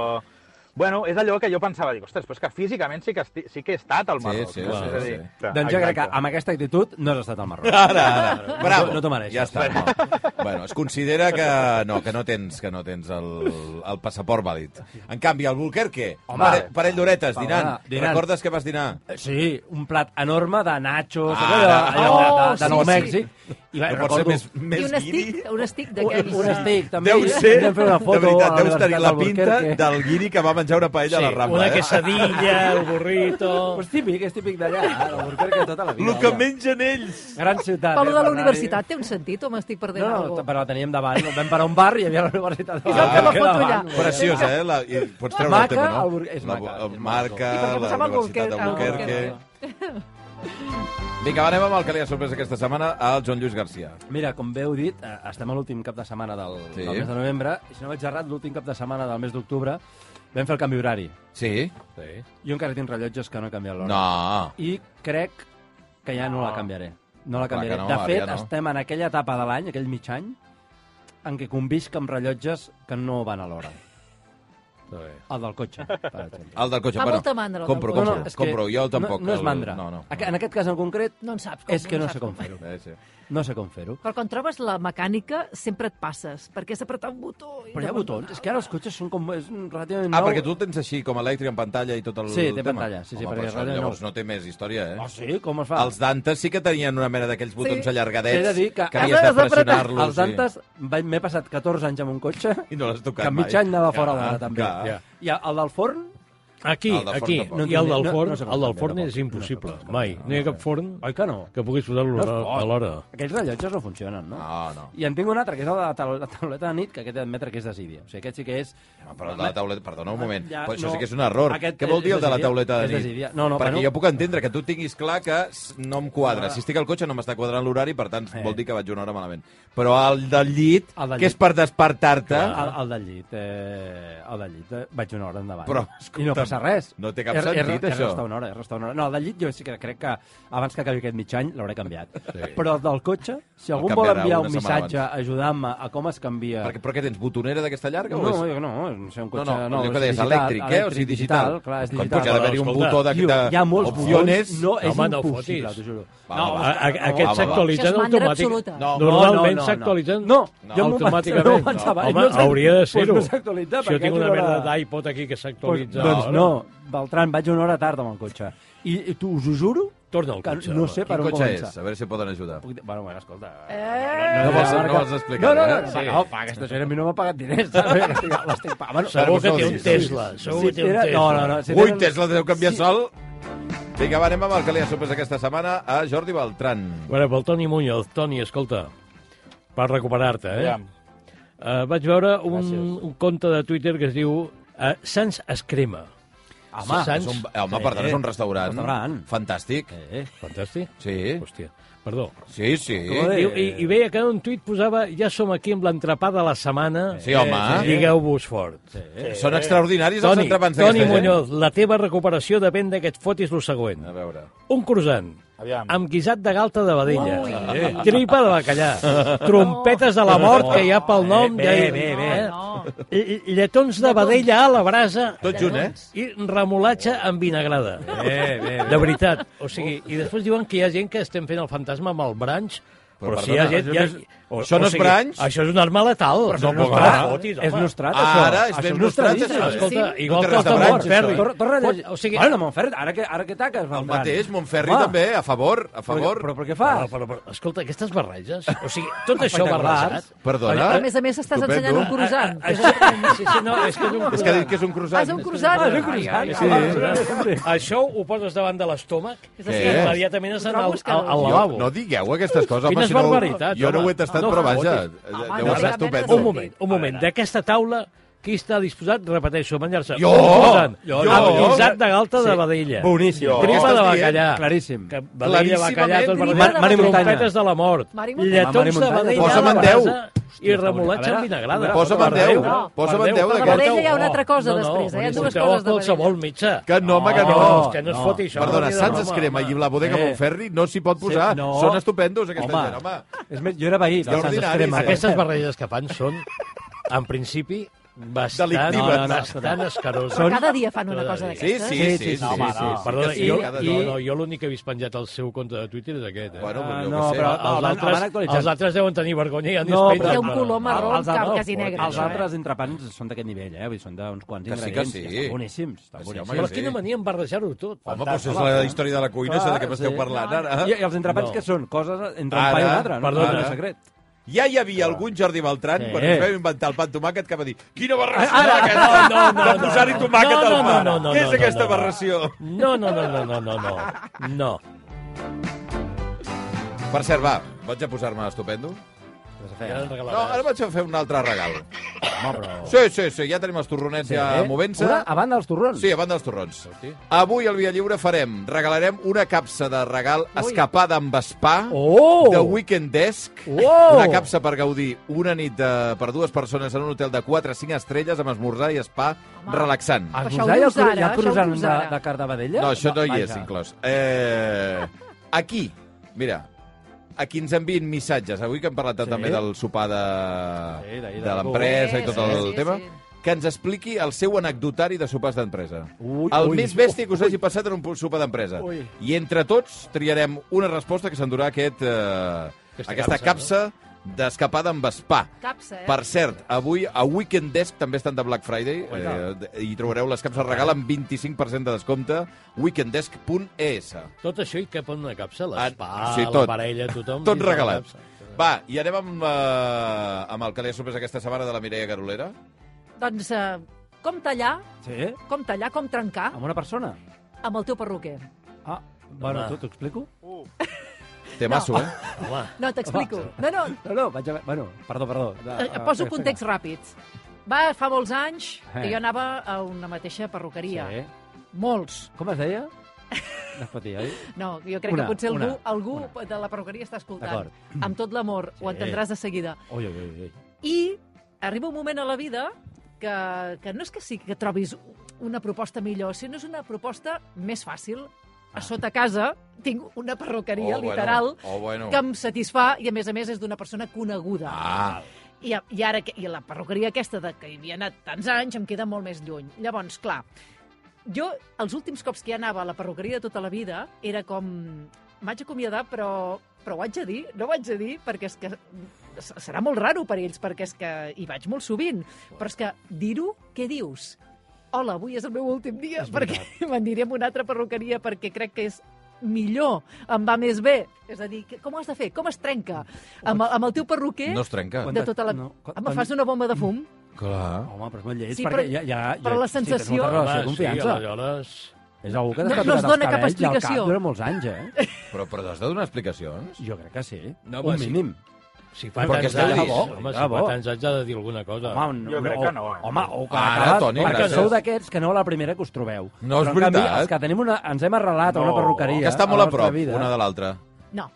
[SPEAKER 5] Bueno, és allò que jo pensava, dic, ostres, però és que físicament sí que, esti, sí que he estat al
[SPEAKER 2] Sí,
[SPEAKER 5] Marroc.
[SPEAKER 2] sí,
[SPEAKER 5] no?
[SPEAKER 2] sí,
[SPEAKER 5] és a dir,
[SPEAKER 2] sí.
[SPEAKER 3] Doncs jo crec que
[SPEAKER 5] exacte.
[SPEAKER 3] amb aquesta actitud no has estat al Marroc.
[SPEAKER 2] Ara, ara. Bravo.
[SPEAKER 3] no t'ho mereixes.
[SPEAKER 2] Ja està. No. Bueno, es considera que no, que no tens, que no tens el, el passaport vàlid. En canvi, al Bulquerque,
[SPEAKER 3] Home.
[SPEAKER 2] pare, parell d'horetes,
[SPEAKER 3] Home,
[SPEAKER 2] dinant.
[SPEAKER 3] dinant.
[SPEAKER 2] Recordes que vas dinar?
[SPEAKER 3] Sí, un plat enorme de nachos,
[SPEAKER 2] Ah,
[SPEAKER 3] ah, allò, de- allò de, de,
[SPEAKER 4] oh,
[SPEAKER 3] de, Nou
[SPEAKER 4] sí, sí.
[SPEAKER 3] Mèxic. I
[SPEAKER 2] No
[SPEAKER 3] va,
[SPEAKER 2] pot ser
[SPEAKER 3] recordo
[SPEAKER 2] més,
[SPEAKER 4] I
[SPEAKER 2] més
[SPEAKER 4] un estic,
[SPEAKER 2] guiri?
[SPEAKER 4] un estic
[SPEAKER 3] un,
[SPEAKER 4] d'aquells...
[SPEAKER 3] un steak, també.
[SPEAKER 2] Deu ser,
[SPEAKER 3] Vam fer una foto
[SPEAKER 2] de veritat,
[SPEAKER 3] a
[SPEAKER 2] deus tenir la
[SPEAKER 3] Universitat
[SPEAKER 2] pinta
[SPEAKER 3] d'Albuquerque.
[SPEAKER 2] del guiri que va menjar una paella a la Rambla.
[SPEAKER 6] una
[SPEAKER 2] eh?
[SPEAKER 6] quesadilla, un burrito...
[SPEAKER 3] Però És típic, és típic d'allà, eh, a l'Albuquerque tota la vida.
[SPEAKER 2] El que
[SPEAKER 3] allà.
[SPEAKER 2] mengen ells.
[SPEAKER 3] Gran ciutat,
[SPEAKER 4] Palo
[SPEAKER 3] eh,
[SPEAKER 4] de la
[SPEAKER 3] Bernat?
[SPEAKER 4] universitat té un sentit o m'estic perdent
[SPEAKER 3] No, no,
[SPEAKER 4] alguna
[SPEAKER 3] però la teníem davant. Vam parar a un bar i hi havia la universitat.
[SPEAKER 4] I vam fer la foto allà.
[SPEAKER 2] Preciosa, eh? La, i pots treure
[SPEAKER 3] Maca,
[SPEAKER 2] el tema, no?
[SPEAKER 3] el Bur- és
[SPEAKER 2] La-
[SPEAKER 3] maca,
[SPEAKER 2] el
[SPEAKER 3] és
[SPEAKER 2] marca,
[SPEAKER 4] maca. I perquè
[SPEAKER 2] la
[SPEAKER 4] posava el
[SPEAKER 2] Universitat
[SPEAKER 4] Bolquer- el
[SPEAKER 2] d'Albuquerque... Vinga, va, anem amb el que li ha sorprès aquesta setmana al Joan Lluís Garcia.
[SPEAKER 3] Mira, com bé heu dit, eh, estem a l'últim cap de setmana del,
[SPEAKER 2] Sí.
[SPEAKER 3] sí. del mes de novembre, i si no vaig errat, l'últim cap de setmana del mes d'octubre vam fer el canvi horari.
[SPEAKER 2] Sí?
[SPEAKER 6] Sí.
[SPEAKER 3] Jo encara tinc rellotges que no he canviat l'hora.
[SPEAKER 2] No.
[SPEAKER 3] I crec que ja no la canviaré. No
[SPEAKER 2] Clar
[SPEAKER 3] la
[SPEAKER 2] que
[SPEAKER 3] canviaré.
[SPEAKER 2] no,
[SPEAKER 3] de
[SPEAKER 2] ara ja
[SPEAKER 3] fet,
[SPEAKER 2] no.
[SPEAKER 3] estem en aquella etapa de l'any, aquell mig any, en què convisc amb rellotges que no van a l'hora.
[SPEAKER 6] Està bé.
[SPEAKER 3] El del cotxe, per exemple.
[SPEAKER 2] El del cotxe,
[SPEAKER 4] Fa
[SPEAKER 2] bueno,
[SPEAKER 4] molta mandra, el del
[SPEAKER 2] Compro, compro,
[SPEAKER 4] cotxe. No, no,
[SPEAKER 3] és que
[SPEAKER 2] compro. Jo tampoc.
[SPEAKER 3] No, no és
[SPEAKER 2] el-
[SPEAKER 3] mandra.
[SPEAKER 2] No, no.
[SPEAKER 3] Aqu- En aquest cas en concret,
[SPEAKER 4] No en saps com,
[SPEAKER 3] és que
[SPEAKER 4] no
[SPEAKER 3] no,
[SPEAKER 4] en
[SPEAKER 3] sé
[SPEAKER 4] saps
[SPEAKER 3] com
[SPEAKER 4] com.
[SPEAKER 3] fer-ho.
[SPEAKER 2] Eh, sí.
[SPEAKER 3] No sé com fer-ho.
[SPEAKER 4] Però quan trobes la mecànica, sempre et passes, perquè has d'apretar un botó... i
[SPEAKER 3] Però hi ha
[SPEAKER 4] no-
[SPEAKER 3] botons. És que ara els cotxes són com... És un relativament
[SPEAKER 2] Ah,
[SPEAKER 3] nou.
[SPEAKER 2] perquè tu el tens així, com elèctric, en pantalla i tot el
[SPEAKER 3] Sí, té
[SPEAKER 2] tema?
[SPEAKER 3] pantalla, sí, sí,
[SPEAKER 2] Home,
[SPEAKER 3] perquè
[SPEAKER 2] però això,
[SPEAKER 3] realment
[SPEAKER 2] llavors
[SPEAKER 3] no.
[SPEAKER 2] no té més història, eh?
[SPEAKER 3] Ah, sí? Com es fa?
[SPEAKER 2] Els Dantes sí que tenien una mena d'aquells botons
[SPEAKER 4] Sí.
[SPEAKER 2] allargadets
[SPEAKER 3] He de dir que-
[SPEAKER 2] que havies de
[SPEAKER 4] Has de- has d'apretar.
[SPEAKER 2] pressionar-los.
[SPEAKER 3] Els Dantes, vaig- m'he passat 14 anys amb un cotxe,
[SPEAKER 2] I no l'has tocat
[SPEAKER 3] que en
[SPEAKER 2] mai.
[SPEAKER 3] mig any anava fora
[SPEAKER 2] Clar,
[SPEAKER 3] d'hora, també.
[SPEAKER 2] clar.
[SPEAKER 6] Ja.
[SPEAKER 3] I el del forn,
[SPEAKER 6] Aquí,
[SPEAKER 2] El del forn
[SPEAKER 6] aquí.
[SPEAKER 2] tampoc.
[SPEAKER 6] I el del
[SPEAKER 3] No,
[SPEAKER 6] forn,
[SPEAKER 3] no sé com
[SPEAKER 6] el del
[SPEAKER 3] canvia,
[SPEAKER 6] forn
[SPEAKER 3] no
[SPEAKER 6] és
[SPEAKER 3] pot-
[SPEAKER 6] impossible,
[SPEAKER 3] no sé com
[SPEAKER 6] mai.
[SPEAKER 3] canvia,
[SPEAKER 6] No hi ha
[SPEAKER 3] no
[SPEAKER 6] cap forn
[SPEAKER 3] oi que no?
[SPEAKER 6] que puguis posar-lo
[SPEAKER 3] No es
[SPEAKER 6] a
[SPEAKER 3] pot.
[SPEAKER 6] l'hora.
[SPEAKER 3] Aquells rellotges no funcionen, no?
[SPEAKER 2] No, Ah, no.
[SPEAKER 3] I en tinc un altre, que és el de la, taul la tauleta de nit, que aquest he d'admetre que és desídia. O sigui, aquest sí que és...
[SPEAKER 2] Home, Però el de la tauleta... Perdona un moment,
[SPEAKER 3] Ja,
[SPEAKER 2] però això
[SPEAKER 3] no.
[SPEAKER 2] sí que és un error.
[SPEAKER 3] Aquest
[SPEAKER 2] Què vol dir
[SPEAKER 3] és
[SPEAKER 2] el de la
[SPEAKER 3] desídia.
[SPEAKER 2] tauleta
[SPEAKER 3] És
[SPEAKER 2] de nit?
[SPEAKER 3] desídia. No, no,
[SPEAKER 2] Perquè
[SPEAKER 3] bueno. Ah.
[SPEAKER 2] jo puc entendre que tu tinguis clar que s- no em quadra. Si estic al cotxe no m'està quadrant l'horari, per tant
[SPEAKER 3] Eh.
[SPEAKER 2] vol dir que vaig una hora malament. Però el del llit,
[SPEAKER 3] El del
[SPEAKER 2] que és
[SPEAKER 3] llit.
[SPEAKER 2] per despertar-te...
[SPEAKER 3] El, el del llit, eh, el del llit, eh, vaig una hora endavant.
[SPEAKER 2] Però,
[SPEAKER 3] I no passa res. Er-
[SPEAKER 2] no té cap
[SPEAKER 3] És- és-
[SPEAKER 2] sentit,
[SPEAKER 3] és
[SPEAKER 2] això.
[SPEAKER 3] restar una hora, és restar una hora. No, el del llit jo sí que crec que abans que acabi aquest mig any l'hauré canviat. Sí. Però el del cotxe, si
[SPEAKER 2] El
[SPEAKER 3] algú em vol
[SPEAKER 2] canviarà
[SPEAKER 3] enviar
[SPEAKER 2] una
[SPEAKER 3] un
[SPEAKER 2] setmana
[SPEAKER 3] missatge ajudant-me a com es canvia...
[SPEAKER 2] Perquè, però què tens, botonera d'aquesta llarga?
[SPEAKER 3] No,
[SPEAKER 2] o és...
[SPEAKER 3] jo no, no sé, un
[SPEAKER 2] No,
[SPEAKER 3] cotxe...
[SPEAKER 2] no, no,
[SPEAKER 3] és
[SPEAKER 2] allò que deies,
[SPEAKER 3] digital,
[SPEAKER 2] elèctric, eh? O sigui, digital.
[SPEAKER 3] Clar, és
[SPEAKER 2] Com
[SPEAKER 3] digital.
[SPEAKER 2] pot que ha d'haver-hi un
[SPEAKER 6] Però,
[SPEAKER 2] botó
[SPEAKER 6] escolta,
[SPEAKER 2] d'aquesta...
[SPEAKER 3] Hi ha molts
[SPEAKER 2] opciones.
[SPEAKER 3] botons, no, és
[SPEAKER 6] Home, no
[SPEAKER 3] impossible,
[SPEAKER 6] fotis.
[SPEAKER 3] t'ho juro.
[SPEAKER 2] Va,
[SPEAKER 6] No,
[SPEAKER 2] va,
[SPEAKER 6] a, a,
[SPEAKER 2] va, va.
[SPEAKER 6] aquest s'actualitza
[SPEAKER 4] Això és mandra
[SPEAKER 6] automàtic.
[SPEAKER 4] absoluta.
[SPEAKER 2] No,
[SPEAKER 6] Normalment s'actualitzen
[SPEAKER 3] No,
[SPEAKER 2] no,
[SPEAKER 3] jo m'ho
[SPEAKER 6] automàticament.
[SPEAKER 3] pensava, no ho pensava.
[SPEAKER 6] Home,
[SPEAKER 3] No s'ha-
[SPEAKER 6] hauria de
[SPEAKER 3] doncs
[SPEAKER 6] ser-ho.
[SPEAKER 3] no s'actualitza,
[SPEAKER 6] si jo
[SPEAKER 3] perquè
[SPEAKER 6] tinc una
[SPEAKER 3] haig una
[SPEAKER 6] merda
[SPEAKER 3] hora-
[SPEAKER 6] d'iPod aquí que
[SPEAKER 3] Pues,
[SPEAKER 6] s'actualitza...
[SPEAKER 3] doncs
[SPEAKER 6] ara.
[SPEAKER 3] no, Beltran, vaig una hora tard amb el cotxe. I, i tu, us ho juro,
[SPEAKER 6] Torna al
[SPEAKER 3] que
[SPEAKER 6] cotxe,
[SPEAKER 3] no
[SPEAKER 6] home.
[SPEAKER 3] sé per
[SPEAKER 2] Quin
[SPEAKER 3] on
[SPEAKER 2] cotxe és?
[SPEAKER 3] començar.
[SPEAKER 2] A veure si poden ajudar.
[SPEAKER 3] Puc dir- Bueno, bueno, escolta...
[SPEAKER 4] Eh?
[SPEAKER 2] No vols-
[SPEAKER 3] la
[SPEAKER 2] no
[SPEAKER 3] marca-
[SPEAKER 2] vols explicar,
[SPEAKER 3] No, no,
[SPEAKER 2] eh?
[SPEAKER 3] no,
[SPEAKER 6] Sí.
[SPEAKER 3] sí. no, pa, aquesta senyora a mi no m'ha pagat diners, <laughs> saps? L'estic- L'estic pagant.
[SPEAKER 6] Segur
[SPEAKER 2] no
[SPEAKER 6] que té
[SPEAKER 2] ho
[SPEAKER 6] un
[SPEAKER 2] diguis.
[SPEAKER 6] Tesla. Segur que té un Tesla.
[SPEAKER 3] No, no, no. si
[SPEAKER 2] Ui,
[SPEAKER 3] tenen-
[SPEAKER 2] Tesla, deu canviar sol. Vinga, va, anem amb el que li ha sorprès aquesta setmana a Jordi Beltran.
[SPEAKER 6] Bueno, pel Toni Muñoz. Toni, escolta, per recuperar-te, eh?
[SPEAKER 5] Ja.
[SPEAKER 6] Eh, vaig veure un,
[SPEAKER 3] Gràcies.
[SPEAKER 6] un compte de Twitter que es diu uh, Sants es crema.
[SPEAKER 3] Home,
[SPEAKER 2] És
[SPEAKER 6] Sants...
[SPEAKER 2] un, eh, home, perdona, és un restaurant.
[SPEAKER 3] Restaurant.
[SPEAKER 2] Fantàstic.
[SPEAKER 3] Eh,
[SPEAKER 6] Fantàstic.
[SPEAKER 2] Sí,
[SPEAKER 6] Hòstia, perdó.
[SPEAKER 2] sí, sí.
[SPEAKER 3] Joder.
[SPEAKER 6] Diu, i, I veia que en un tuit posava ja som aquí amb l'entrepà de la setmana. Eh,
[SPEAKER 2] Sí, home.
[SPEAKER 6] Digueu-vos fort.
[SPEAKER 3] Eh.
[SPEAKER 2] Són extraordinaris els
[SPEAKER 6] Toni,
[SPEAKER 2] entrepans
[SPEAKER 6] Toni
[SPEAKER 2] d'aquesta gent.
[SPEAKER 6] Muñoz, la teva recuperació depèn de que et fotis lo següent.
[SPEAKER 2] A veure.
[SPEAKER 6] Un croissant,
[SPEAKER 5] Aviam.
[SPEAKER 6] amb guisat de galta de vedella,
[SPEAKER 4] Ui.
[SPEAKER 6] eh, tripa de bacallà, trompetes de la mort que hi ha pel nom,
[SPEAKER 3] Bé,
[SPEAKER 6] ja hi-
[SPEAKER 3] bé, bé.
[SPEAKER 6] eh,
[SPEAKER 4] No, no.
[SPEAKER 6] i- i lletons de vedella a la brasa
[SPEAKER 2] Tot junt, eh?
[SPEAKER 6] i remolatge amb vinagrada.
[SPEAKER 3] Bé, bé, bé.
[SPEAKER 6] De veritat. O sigui, I després diuen que hi ha gent que estem fent el fantasma amb el branch,
[SPEAKER 2] Però
[SPEAKER 6] però, si hi
[SPEAKER 2] perdona,
[SPEAKER 6] ha gent... Hi ha,
[SPEAKER 3] jo
[SPEAKER 6] O,
[SPEAKER 2] Això no
[SPEAKER 6] o
[SPEAKER 2] és branys?
[SPEAKER 6] Això és una arma letal.
[SPEAKER 2] Però això no és
[SPEAKER 6] me
[SPEAKER 2] branys.
[SPEAKER 6] fotis,
[SPEAKER 3] És
[SPEAKER 6] home.
[SPEAKER 3] nostrat,
[SPEAKER 2] Ara
[SPEAKER 3] això.
[SPEAKER 2] és
[SPEAKER 3] això
[SPEAKER 2] ben nostrat,
[SPEAKER 3] nostradíssim.
[SPEAKER 2] això, eh?
[SPEAKER 6] Escolta,
[SPEAKER 4] Sí.
[SPEAKER 6] igual
[SPEAKER 2] No té
[SPEAKER 6] que
[SPEAKER 2] res
[SPEAKER 6] el
[SPEAKER 2] de
[SPEAKER 6] de
[SPEAKER 2] branys, això.
[SPEAKER 6] Montferri.
[SPEAKER 2] eh?
[SPEAKER 3] Torna, torna a llegir.
[SPEAKER 6] O sigui,
[SPEAKER 3] Bueno, Montferri, ara que, ara que taques,
[SPEAKER 2] El
[SPEAKER 3] Beltran.
[SPEAKER 2] mateix, Montferri
[SPEAKER 3] Home,
[SPEAKER 2] també, a favor, a favor.
[SPEAKER 3] Però, però, però què
[SPEAKER 6] Ah,
[SPEAKER 3] fas?
[SPEAKER 6] però, però, però, escolta, aquestes barreges... O sigui, tot això
[SPEAKER 3] Espectaculars.
[SPEAKER 6] barrejat...
[SPEAKER 2] Perdona?
[SPEAKER 4] A més a més, estàs
[SPEAKER 2] Estupendo.
[SPEAKER 4] ensenyant un
[SPEAKER 2] Ah,
[SPEAKER 4] croissant.
[SPEAKER 6] Ah, això- sí, sí, no, és que és un
[SPEAKER 2] És que ha dit que és un
[SPEAKER 4] Ah,
[SPEAKER 2] croissant.
[SPEAKER 4] és un croissant.
[SPEAKER 3] Ah, és un croissant.
[SPEAKER 4] Ai, ai,
[SPEAKER 3] Sí.
[SPEAKER 4] ai.
[SPEAKER 6] croissant. Això ho poses davant de l'estómac i
[SPEAKER 4] És així.
[SPEAKER 6] immediatament has d'anar al, al, al
[SPEAKER 2] Jo-
[SPEAKER 6] lavabo.
[SPEAKER 2] No digueu aquestes coses, home,
[SPEAKER 6] Quines
[SPEAKER 2] si no...
[SPEAKER 6] barbaritats,
[SPEAKER 2] Jo no
[SPEAKER 6] home.
[SPEAKER 2] ho he tastat,
[SPEAKER 6] No,
[SPEAKER 2] però
[SPEAKER 6] no,
[SPEAKER 2] vaja,
[SPEAKER 4] Home,
[SPEAKER 2] deu
[SPEAKER 4] no,
[SPEAKER 2] estar
[SPEAKER 4] no,
[SPEAKER 2] estupendo.
[SPEAKER 4] no,
[SPEAKER 6] Un moment, un moment. D'aquesta taula, qui està disposat, repeteixo, a menjar-se?
[SPEAKER 2] Jo!
[SPEAKER 6] Un croissant
[SPEAKER 2] Jo!
[SPEAKER 6] Amb guisat de galta de vedella.
[SPEAKER 3] Boníssim.
[SPEAKER 2] Jo.
[SPEAKER 6] Tripa
[SPEAKER 2] Estàs
[SPEAKER 6] de
[SPEAKER 2] dient?
[SPEAKER 6] bacallà.
[SPEAKER 3] Claríssim.
[SPEAKER 6] Que vedella, bacallà, tot
[SPEAKER 4] Tripa de
[SPEAKER 6] verdell.
[SPEAKER 4] Mari
[SPEAKER 3] Muntanya.
[SPEAKER 6] Trompetes de la mort.
[SPEAKER 4] Mari Muntanya.
[SPEAKER 3] Mari
[SPEAKER 6] Lletons de
[SPEAKER 3] Muntanya.
[SPEAKER 6] vedella.
[SPEAKER 2] Posa'm
[SPEAKER 6] a la
[SPEAKER 2] en deu.
[SPEAKER 6] brasa I remolatxa
[SPEAKER 3] a veure,
[SPEAKER 6] amb vinagrada.
[SPEAKER 3] a veure,
[SPEAKER 2] Posa'm en
[SPEAKER 6] Per
[SPEAKER 2] deu,
[SPEAKER 6] Déu.
[SPEAKER 2] posa'm
[SPEAKER 6] Per
[SPEAKER 2] en
[SPEAKER 6] Déu,
[SPEAKER 2] deu
[SPEAKER 6] per
[SPEAKER 2] d'aquests.
[SPEAKER 6] Déu.
[SPEAKER 4] Vedella hi ha una altra cosa
[SPEAKER 6] No, no,
[SPEAKER 4] després, eh? Hi ha
[SPEAKER 6] escolteu,
[SPEAKER 4] dues coses de
[SPEAKER 6] qualsevol
[SPEAKER 4] vedella.
[SPEAKER 6] mitjà.
[SPEAKER 2] Que no, home, que no.
[SPEAKER 6] Oh, que no es foti això.
[SPEAKER 2] Perdona,
[SPEAKER 6] Ni de
[SPEAKER 2] Sants es
[SPEAKER 6] broma,
[SPEAKER 2] crema
[SPEAKER 6] home.
[SPEAKER 2] i la bodega
[SPEAKER 3] Eh.
[SPEAKER 2] Montferri no s'hi pot posar.
[SPEAKER 3] no.
[SPEAKER 2] Són estupendos, aquesta
[SPEAKER 3] Home.
[SPEAKER 2] gent, home.
[SPEAKER 3] És més, jo era veí del Sants
[SPEAKER 2] ordinaris,
[SPEAKER 3] Extrema.
[SPEAKER 2] eh?
[SPEAKER 6] Aquestes barreges que fan són, en principi, bastant,
[SPEAKER 2] Delictives.
[SPEAKER 6] no, no, bastant escaroses. Ah,
[SPEAKER 4] Però cada dia fan una cosa
[SPEAKER 2] Sí,
[SPEAKER 4] d'aquestes.
[SPEAKER 2] sí,
[SPEAKER 3] Sí,
[SPEAKER 2] sí,
[SPEAKER 3] sí,
[SPEAKER 2] sí.
[SPEAKER 3] no, home, no.
[SPEAKER 6] Perdona,
[SPEAKER 2] Que sí,
[SPEAKER 6] jo,
[SPEAKER 2] cada
[SPEAKER 6] i,
[SPEAKER 2] dia.
[SPEAKER 6] no, jo l'únic que he vist penjat al seu compte de Twitter és aquest. Eh?
[SPEAKER 2] Bueno,
[SPEAKER 3] Ah,
[SPEAKER 2] pues jo
[SPEAKER 3] no,
[SPEAKER 2] què sé.
[SPEAKER 3] però
[SPEAKER 6] els,
[SPEAKER 3] el van- el
[SPEAKER 6] altres,
[SPEAKER 3] van actualitzant.
[SPEAKER 6] els altres deuen tenir vergonya i ja
[SPEAKER 3] No,
[SPEAKER 6] no,
[SPEAKER 3] però-
[SPEAKER 4] Hi ha un color marró,
[SPEAKER 3] Els altres-
[SPEAKER 4] cap- quasi negre,
[SPEAKER 3] Els
[SPEAKER 4] això, eh?
[SPEAKER 3] altres entrepans són d'aquest nivell, eh? Vull dir, són d'uns quants
[SPEAKER 2] Que sí, que
[SPEAKER 3] ingredients.
[SPEAKER 2] sí.
[SPEAKER 3] Estan boníssims. Estan
[SPEAKER 2] Que sí, home,
[SPEAKER 3] boníssims.
[SPEAKER 6] Però
[SPEAKER 2] sí.
[SPEAKER 6] quina mania en barrejar-ho tot.
[SPEAKER 2] Home, doncs és la història de la cuina,
[SPEAKER 3] Clar,
[SPEAKER 2] de què m'esteu
[SPEAKER 3] sí.
[SPEAKER 2] parlant ara.
[SPEAKER 3] I, I els entrepans
[SPEAKER 6] No.
[SPEAKER 3] que són coses entre
[SPEAKER 2] Ara,
[SPEAKER 3] un pa i un altre, no?
[SPEAKER 6] perdona.
[SPEAKER 3] Perdona. No secret.
[SPEAKER 2] Ja hi havia algun Jordi Beltran,
[SPEAKER 3] Sí.
[SPEAKER 2] quan es va inventar el pa amb tomàquet, que va dir quina barració
[SPEAKER 6] Ara,
[SPEAKER 2] és aquesta
[SPEAKER 6] no, no, no,
[SPEAKER 2] de posar-hi
[SPEAKER 6] no, no.
[SPEAKER 2] tomàquet
[SPEAKER 6] No,
[SPEAKER 2] al
[SPEAKER 6] no,
[SPEAKER 2] pa?
[SPEAKER 6] no, no,
[SPEAKER 2] Què
[SPEAKER 6] no,
[SPEAKER 2] és
[SPEAKER 6] no,
[SPEAKER 2] aquesta
[SPEAKER 6] no.
[SPEAKER 2] barració?
[SPEAKER 6] No, no, no, no, no, no, no. No.
[SPEAKER 2] Per cert, va, vaig a posar-me estupendo.
[SPEAKER 6] Ja
[SPEAKER 3] eh?
[SPEAKER 6] ens regalaràs.
[SPEAKER 2] Eh. No, ara vaig a fer un altre regal.
[SPEAKER 6] Home, però...
[SPEAKER 2] Sí, sí, sí, ja tenim els torronets ja
[SPEAKER 3] eh?
[SPEAKER 2] movent-se.
[SPEAKER 3] Una, a banda dels turrons.
[SPEAKER 2] Sí, a banda dels torrons. Avui al Via Lliure farem, regalarem una capsa de regal escapada amb spa
[SPEAKER 6] Oh!
[SPEAKER 2] de Weekend Desk.
[SPEAKER 6] Oh!
[SPEAKER 2] Una capsa per gaudir una nit de, per dues persones en un hotel de 4 o 5 estrelles amb esmorzar i spa
[SPEAKER 4] Home.
[SPEAKER 2] relaxant.
[SPEAKER 4] Ah,
[SPEAKER 3] Esmorzar
[SPEAKER 4] Això ho
[SPEAKER 3] i el
[SPEAKER 4] dius
[SPEAKER 3] cru-
[SPEAKER 4] ara,
[SPEAKER 3] i el
[SPEAKER 4] això ho
[SPEAKER 3] croissant
[SPEAKER 4] dius
[SPEAKER 3] de,
[SPEAKER 4] ara.
[SPEAKER 3] de carn de vedella?
[SPEAKER 2] No, això no hi és
[SPEAKER 3] vaja.
[SPEAKER 2] inclòs. Eh, aquí, mira, a qui ens envien missatges, avui que hem parlat
[SPEAKER 3] Sí.
[SPEAKER 2] també del sopar de,
[SPEAKER 3] Sí, d'ahir
[SPEAKER 2] de
[SPEAKER 3] del
[SPEAKER 2] l'empresa i
[SPEAKER 4] Sí,
[SPEAKER 2] tot
[SPEAKER 4] sí,
[SPEAKER 2] el
[SPEAKER 4] sí,
[SPEAKER 2] tema,
[SPEAKER 4] sí.
[SPEAKER 2] que ens expliqui el seu anecdotari de sopars d'empresa.
[SPEAKER 3] Ui,
[SPEAKER 2] El
[SPEAKER 3] ui,
[SPEAKER 2] més bèstia que us hagi passat en un sopar d'empresa.
[SPEAKER 3] Ui.
[SPEAKER 2] I entre tots triarem una resposta que s'endurà aquest, eh,
[SPEAKER 6] Aquesta
[SPEAKER 2] aquesta
[SPEAKER 6] capsa,
[SPEAKER 2] capsa d'escapada amb spa.
[SPEAKER 4] Capsa, eh?
[SPEAKER 2] Per cert, avui a Weekend Desk també estan de Black Friday. Eh, hi trobareu les capses regal amb 25% de descompte. weekenddesk.es
[SPEAKER 6] Tot això hi cap en una capsa, l'espa,
[SPEAKER 2] Ah, sí,
[SPEAKER 6] la
[SPEAKER 2] tot.
[SPEAKER 6] parella, tothom...
[SPEAKER 2] Tot
[SPEAKER 6] dins de la
[SPEAKER 2] regalat.
[SPEAKER 6] capsa.
[SPEAKER 2] Va, i anem amb, eh, amb el que li ha sorprès aquesta setmana de la Mireia Garolera.
[SPEAKER 4] Doncs eh, com tallar,
[SPEAKER 3] Sí?
[SPEAKER 4] com tallar, com trencar
[SPEAKER 3] Amb una persona?
[SPEAKER 4] amb el teu perruquer.
[SPEAKER 3] Ah, bueno,
[SPEAKER 6] Home.
[SPEAKER 3] tu t'ho explico?
[SPEAKER 2] Temasso, no.
[SPEAKER 6] <laughs>
[SPEAKER 2] eh?
[SPEAKER 6] Home,
[SPEAKER 4] No, t'explico. No, no,
[SPEAKER 3] No, no, vaig a... Bueno, perdó, perdó. De,
[SPEAKER 4] eh, poso context ràpid. Va, fa molts anys que
[SPEAKER 3] Eh.
[SPEAKER 4] jo anava a una mateixa perruqueria.
[SPEAKER 3] Sí.
[SPEAKER 4] Molts.
[SPEAKER 3] Com es
[SPEAKER 4] <laughs>
[SPEAKER 3] deia? No es pot dir, oi?
[SPEAKER 4] No, jo crec
[SPEAKER 3] Una,
[SPEAKER 4] que potser algú,
[SPEAKER 3] una,
[SPEAKER 4] algú de la perruqueria està escoltant.
[SPEAKER 3] D'acord.
[SPEAKER 4] Amb tot l'amor,
[SPEAKER 3] Sí.
[SPEAKER 4] ho entendràs de seguida.
[SPEAKER 3] Ui, ui, ui, ui.
[SPEAKER 4] I arriba un moment a la vida que, que no és que sí que trobis una proposta millor, sinó és una proposta més fàcil. A sota casa tinc una perruqueria, literal,
[SPEAKER 2] Bueno. Ah. Oh, bueno.
[SPEAKER 4] que em satisfà i, a més a més, és d'una persona coneguda.
[SPEAKER 2] Ah,
[SPEAKER 4] I, I ara que- i la perruqueria aquesta de que hi havia anat tants anys em queda molt més lluny. Llavors, clar, jo els últims cops que hi anava a la perruqueria de tota la vida era com... M'haig acomiadar, però, però ho haig de dir, no ho haig de dir, perquè és que s- serà molt raro per ells, perquè és que hi vaig molt sovint. Però és que dir-ho, què dius? Hola, avui és el meu últim dia, és perquè <laughs> me'n diré a una altra perruqueria perquè crec que és millor, em va més bé. És a dir, que- com ho has de fer? Com es trenca? Amb, amb el teu perruquer...
[SPEAKER 2] no es trenca.
[SPEAKER 4] De tota la... No,
[SPEAKER 3] No, quan- Mm.
[SPEAKER 4] Home, fas una bomba de fum?
[SPEAKER 2] Clar.
[SPEAKER 3] Home, però és molt lleig,
[SPEAKER 4] Sí,
[SPEAKER 3] sí, perquè
[SPEAKER 4] però-
[SPEAKER 3] ja... ja
[SPEAKER 4] però
[SPEAKER 3] ja-
[SPEAKER 4] la sensació-
[SPEAKER 3] Sí, tens molta
[SPEAKER 6] home,
[SPEAKER 3] relació, de
[SPEAKER 6] sí,
[SPEAKER 3] confiança.
[SPEAKER 6] aleshores...
[SPEAKER 3] és algú que
[SPEAKER 4] No-
[SPEAKER 3] t'ha
[SPEAKER 4] no es
[SPEAKER 3] tocat els
[SPEAKER 4] dona cap
[SPEAKER 3] cabells i el cap
[SPEAKER 4] explicació.
[SPEAKER 3] Dura molts anys, eh?
[SPEAKER 2] Però, però has de donar explicacions?
[SPEAKER 3] Jo crec que sí.
[SPEAKER 6] No,
[SPEAKER 3] No,
[SPEAKER 6] home,
[SPEAKER 3] un
[SPEAKER 6] sí.
[SPEAKER 3] mínim.
[SPEAKER 6] Si fa
[SPEAKER 2] Però què
[SPEAKER 6] tants
[SPEAKER 2] esteu
[SPEAKER 6] anys...
[SPEAKER 2] dient?
[SPEAKER 6] Home, si
[SPEAKER 3] Ah,
[SPEAKER 6] fa
[SPEAKER 3] bo.
[SPEAKER 6] tants anys ha de dir alguna cosa.
[SPEAKER 3] un,
[SPEAKER 5] Jo crec
[SPEAKER 3] o-
[SPEAKER 5] que no, eh?
[SPEAKER 3] Home, o que
[SPEAKER 2] Ara,
[SPEAKER 3] acabes,
[SPEAKER 2] Toni,
[SPEAKER 3] perquè
[SPEAKER 2] gràcies.
[SPEAKER 3] sou d'aquests que aneu a la primera que us trobeu.
[SPEAKER 2] No, és
[SPEAKER 3] Però, en canvi,
[SPEAKER 2] veritat.
[SPEAKER 3] els que tenim una, ens hem arrelat eh, a
[SPEAKER 5] No,
[SPEAKER 3] una perruqueria...
[SPEAKER 2] Que està molt a prop,
[SPEAKER 3] vida,
[SPEAKER 2] una de l'altra.
[SPEAKER 4] No.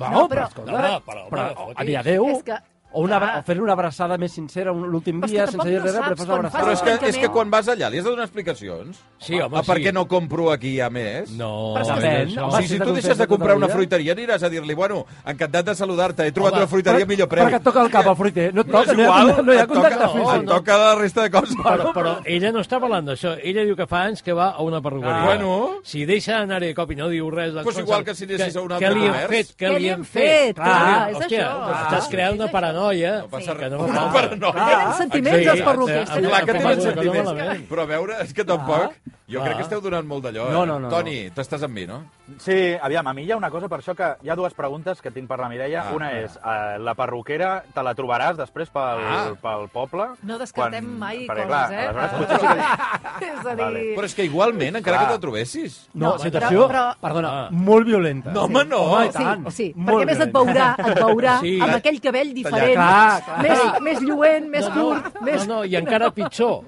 [SPEAKER 3] Va,
[SPEAKER 4] No,
[SPEAKER 3] no,
[SPEAKER 4] però-
[SPEAKER 3] però,
[SPEAKER 6] No,
[SPEAKER 3] escolta,
[SPEAKER 6] no, però, home,
[SPEAKER 3] però,
[SPEAKER 6] fotis.
[SPEAKER 3] a dir adéu,
[SPEAKER 4] És que
[SPEAKER 3] O, una,
[SPEAKER 4] Clar.
[SPEAKER 3] abra- o fer una abraçada més sincera un- l'últim
[SPEAKER 4] Però és
[SPEAKER 3] dia,
[SPEAKER 4] que
[SPEAKER 3] sense
[SPEAKER 4] tampoc
[SPEAKER 3] dir
[SPEAKER 4] no
[SPEAKER 3] res,
[SPEAKER 4] saps
[SPEAKER 3] però fas
[SPEAKER 4] quan
[SPEAKER 3] una abraçada.
[SPEAKER 2] Però és que, és
[SPEAKER 4] francament-
[SPEAKER 2] que quan vas allà li has de donar explicacions.
[SPEAKER 6] Sí, home,
[SPEAKER 2] ah, per
[SPEAKER 6] sí.
[SPEAKER 2] què no compro aquí a més?
[SPEAKER 6] No,
[SPEAKER 4] Però està
[SPEAKER 3] Depèn,
[SPEAKER 6] no.
[SPEAKER 3] home,
[SPEAKER 2] Sí, si
[SPEAKER 3] si
[SPEAKER 2] tu
[SPEAKER 3] t'ha
[SPEAKER 2] deixes de
[SPEAKER 3] contestat
[SPEAKER 2] comprar
[SPEAKER 3] tota
[SPEAKER 2] una
[SPEAKER 3] la vida.
[SPEAKER 2] fruiteria, aniràs a dir-li, bueno, encantat de saludar-te, he trobat
[SPEAKER 6] Home,
[SPEAKER 2] una fruiteria a millor preu.
[SPEAKER 3] Perquè et toca el cap al fruiter. No et toca, no, hi ha, no hi ha
[SPEAKER 2] et
[SPEAKER 3] contacte
[SPEAKER 2] toca,
[SPEAKER 3] físic.
[SPEAKER 2] et toca la resta de coses.
[SPEAKER 6] Però, però ella no està parlant d'això. Ella diu que fa anys que va a una perruqueria.
[SPEAKER 2] Ah. Bueno.
[SPEAKER 6] Si deixa d'anar de cop i no diu res...
[SPEAKER 2] Pues igual que si anessis a un altre
[SPEAKER 6] que li
[SPEAKER 2] comerç.
[SPEAKER 6] hem fet, que
[SPEAKER 4] Què
[SPEAKER 6] li hem fet.
[SPEAKER 4] clar, és
[SPEAKER 6] hòstia,
[SPEAKER 4] això.
[SPEAKER 6] doncs
[SPEAKER 4] Ah.
[SPEAKER 6] Estàs creant una
[SPEAKER 4] És això.
[SPEAKER 6] paranoia.
[SPEAKER 2] No passa
[SPEAKER 6] que
[SPEAKER 2] res.
[SPEAKER 6] no
[SPEAKER 2] Una
[SPEAKER 6] fa.
[SPEAKER 3] Ah,
[SPEAKER 2] paranoia.
[SPEAKER 4] Tenen sentiments,
[SPEAKER 6] Sí,
[SPEAKER 4] els perruquers.
[SPEAKER 6] eh,
[SPEAKER 4] tenen
[SPEAKER 2] Clar que
[SPEAKER 6] Tampoc
[SPEAKER 2] tenen
[SPEAKER 6] no
[SPEAKER 2] sentiments,
[SPEAKER 6] malament.
[SPEAKER 2] però a veure, és que tampoc... Jo
[SPEAKER 6] Clar.
[SPEAKER 2] crec que esteu donant molt d'allò, eh?
[SPEAKER 3] Ah. No, no, no,
[SPEAKER 2] Toni, t'estàs amb mi, no?
[SPEAKER 5] Sí, aviam, a mi hi ha una cosa per això que hi ha dues preguntes que tinc per la Mireia.
[SPEAKER 2] Ah.
[SPEAKER 5] Ah, una és, eh, la perruquera te la trobaràs després pel,
[SPEAKER 2] Ah.
[SPEAKER 5] ah. pel poble?
[SPEAKER 4] No descartem mai
[SPEAKER 5] perquè,
[SPEAKER 4] coses,
[SPEAKER 5] clar,
[SPEAKER 4] eh?
[SPEAKER 5] Aleshores,
[SPEAKER 4] Ah. <laughs>
[SPEAKER 5] potser sí que dic,
[SPEAKER 4] És a dir...
[SPEAKER 5] Vale.
[SPEAKER 2] Però és que igualment, encara
[SPEAKER 5] Clar.
[SPEAKER 2] que te'l trobessis...
[SPEAKER 3] No,
[SPEAKER 4] No,
[SPEAKER 3] situació,
[SPEAKER 4] però- però-
[SPEAKER 3] perdona,
[SPEAKER 6] Ah.
[SPEAKER 3] molt violenta.
[SPEAKER 2] No, home, no.
[SPEAKER 3] Home, i
[SPEAKER 4] Sí,
[SPEAKER 3] tant.
[SPEAKER 4] sí,
[SPEAKER 3] Molt
[SPEAKER 4] perquè a més et
[SPEAKER 3] violenta.
[SPEAKER 4] veurà, et veurà
[SPEAKER 6] Sí.
[SPEAKER 4] amb aquell cabell diferent,
[SPEAKER 3] Clar, clar.
[SPEAKER 4] Més, més lluent, més
[SPEAKER 6] No,
[SPEAKER 4] curt,
[SPEAKER 6] no,
[SPEAKER 3] Ah,
[SPEAKER 4] més...
[SPEAKER 6] no, i encara pitjor.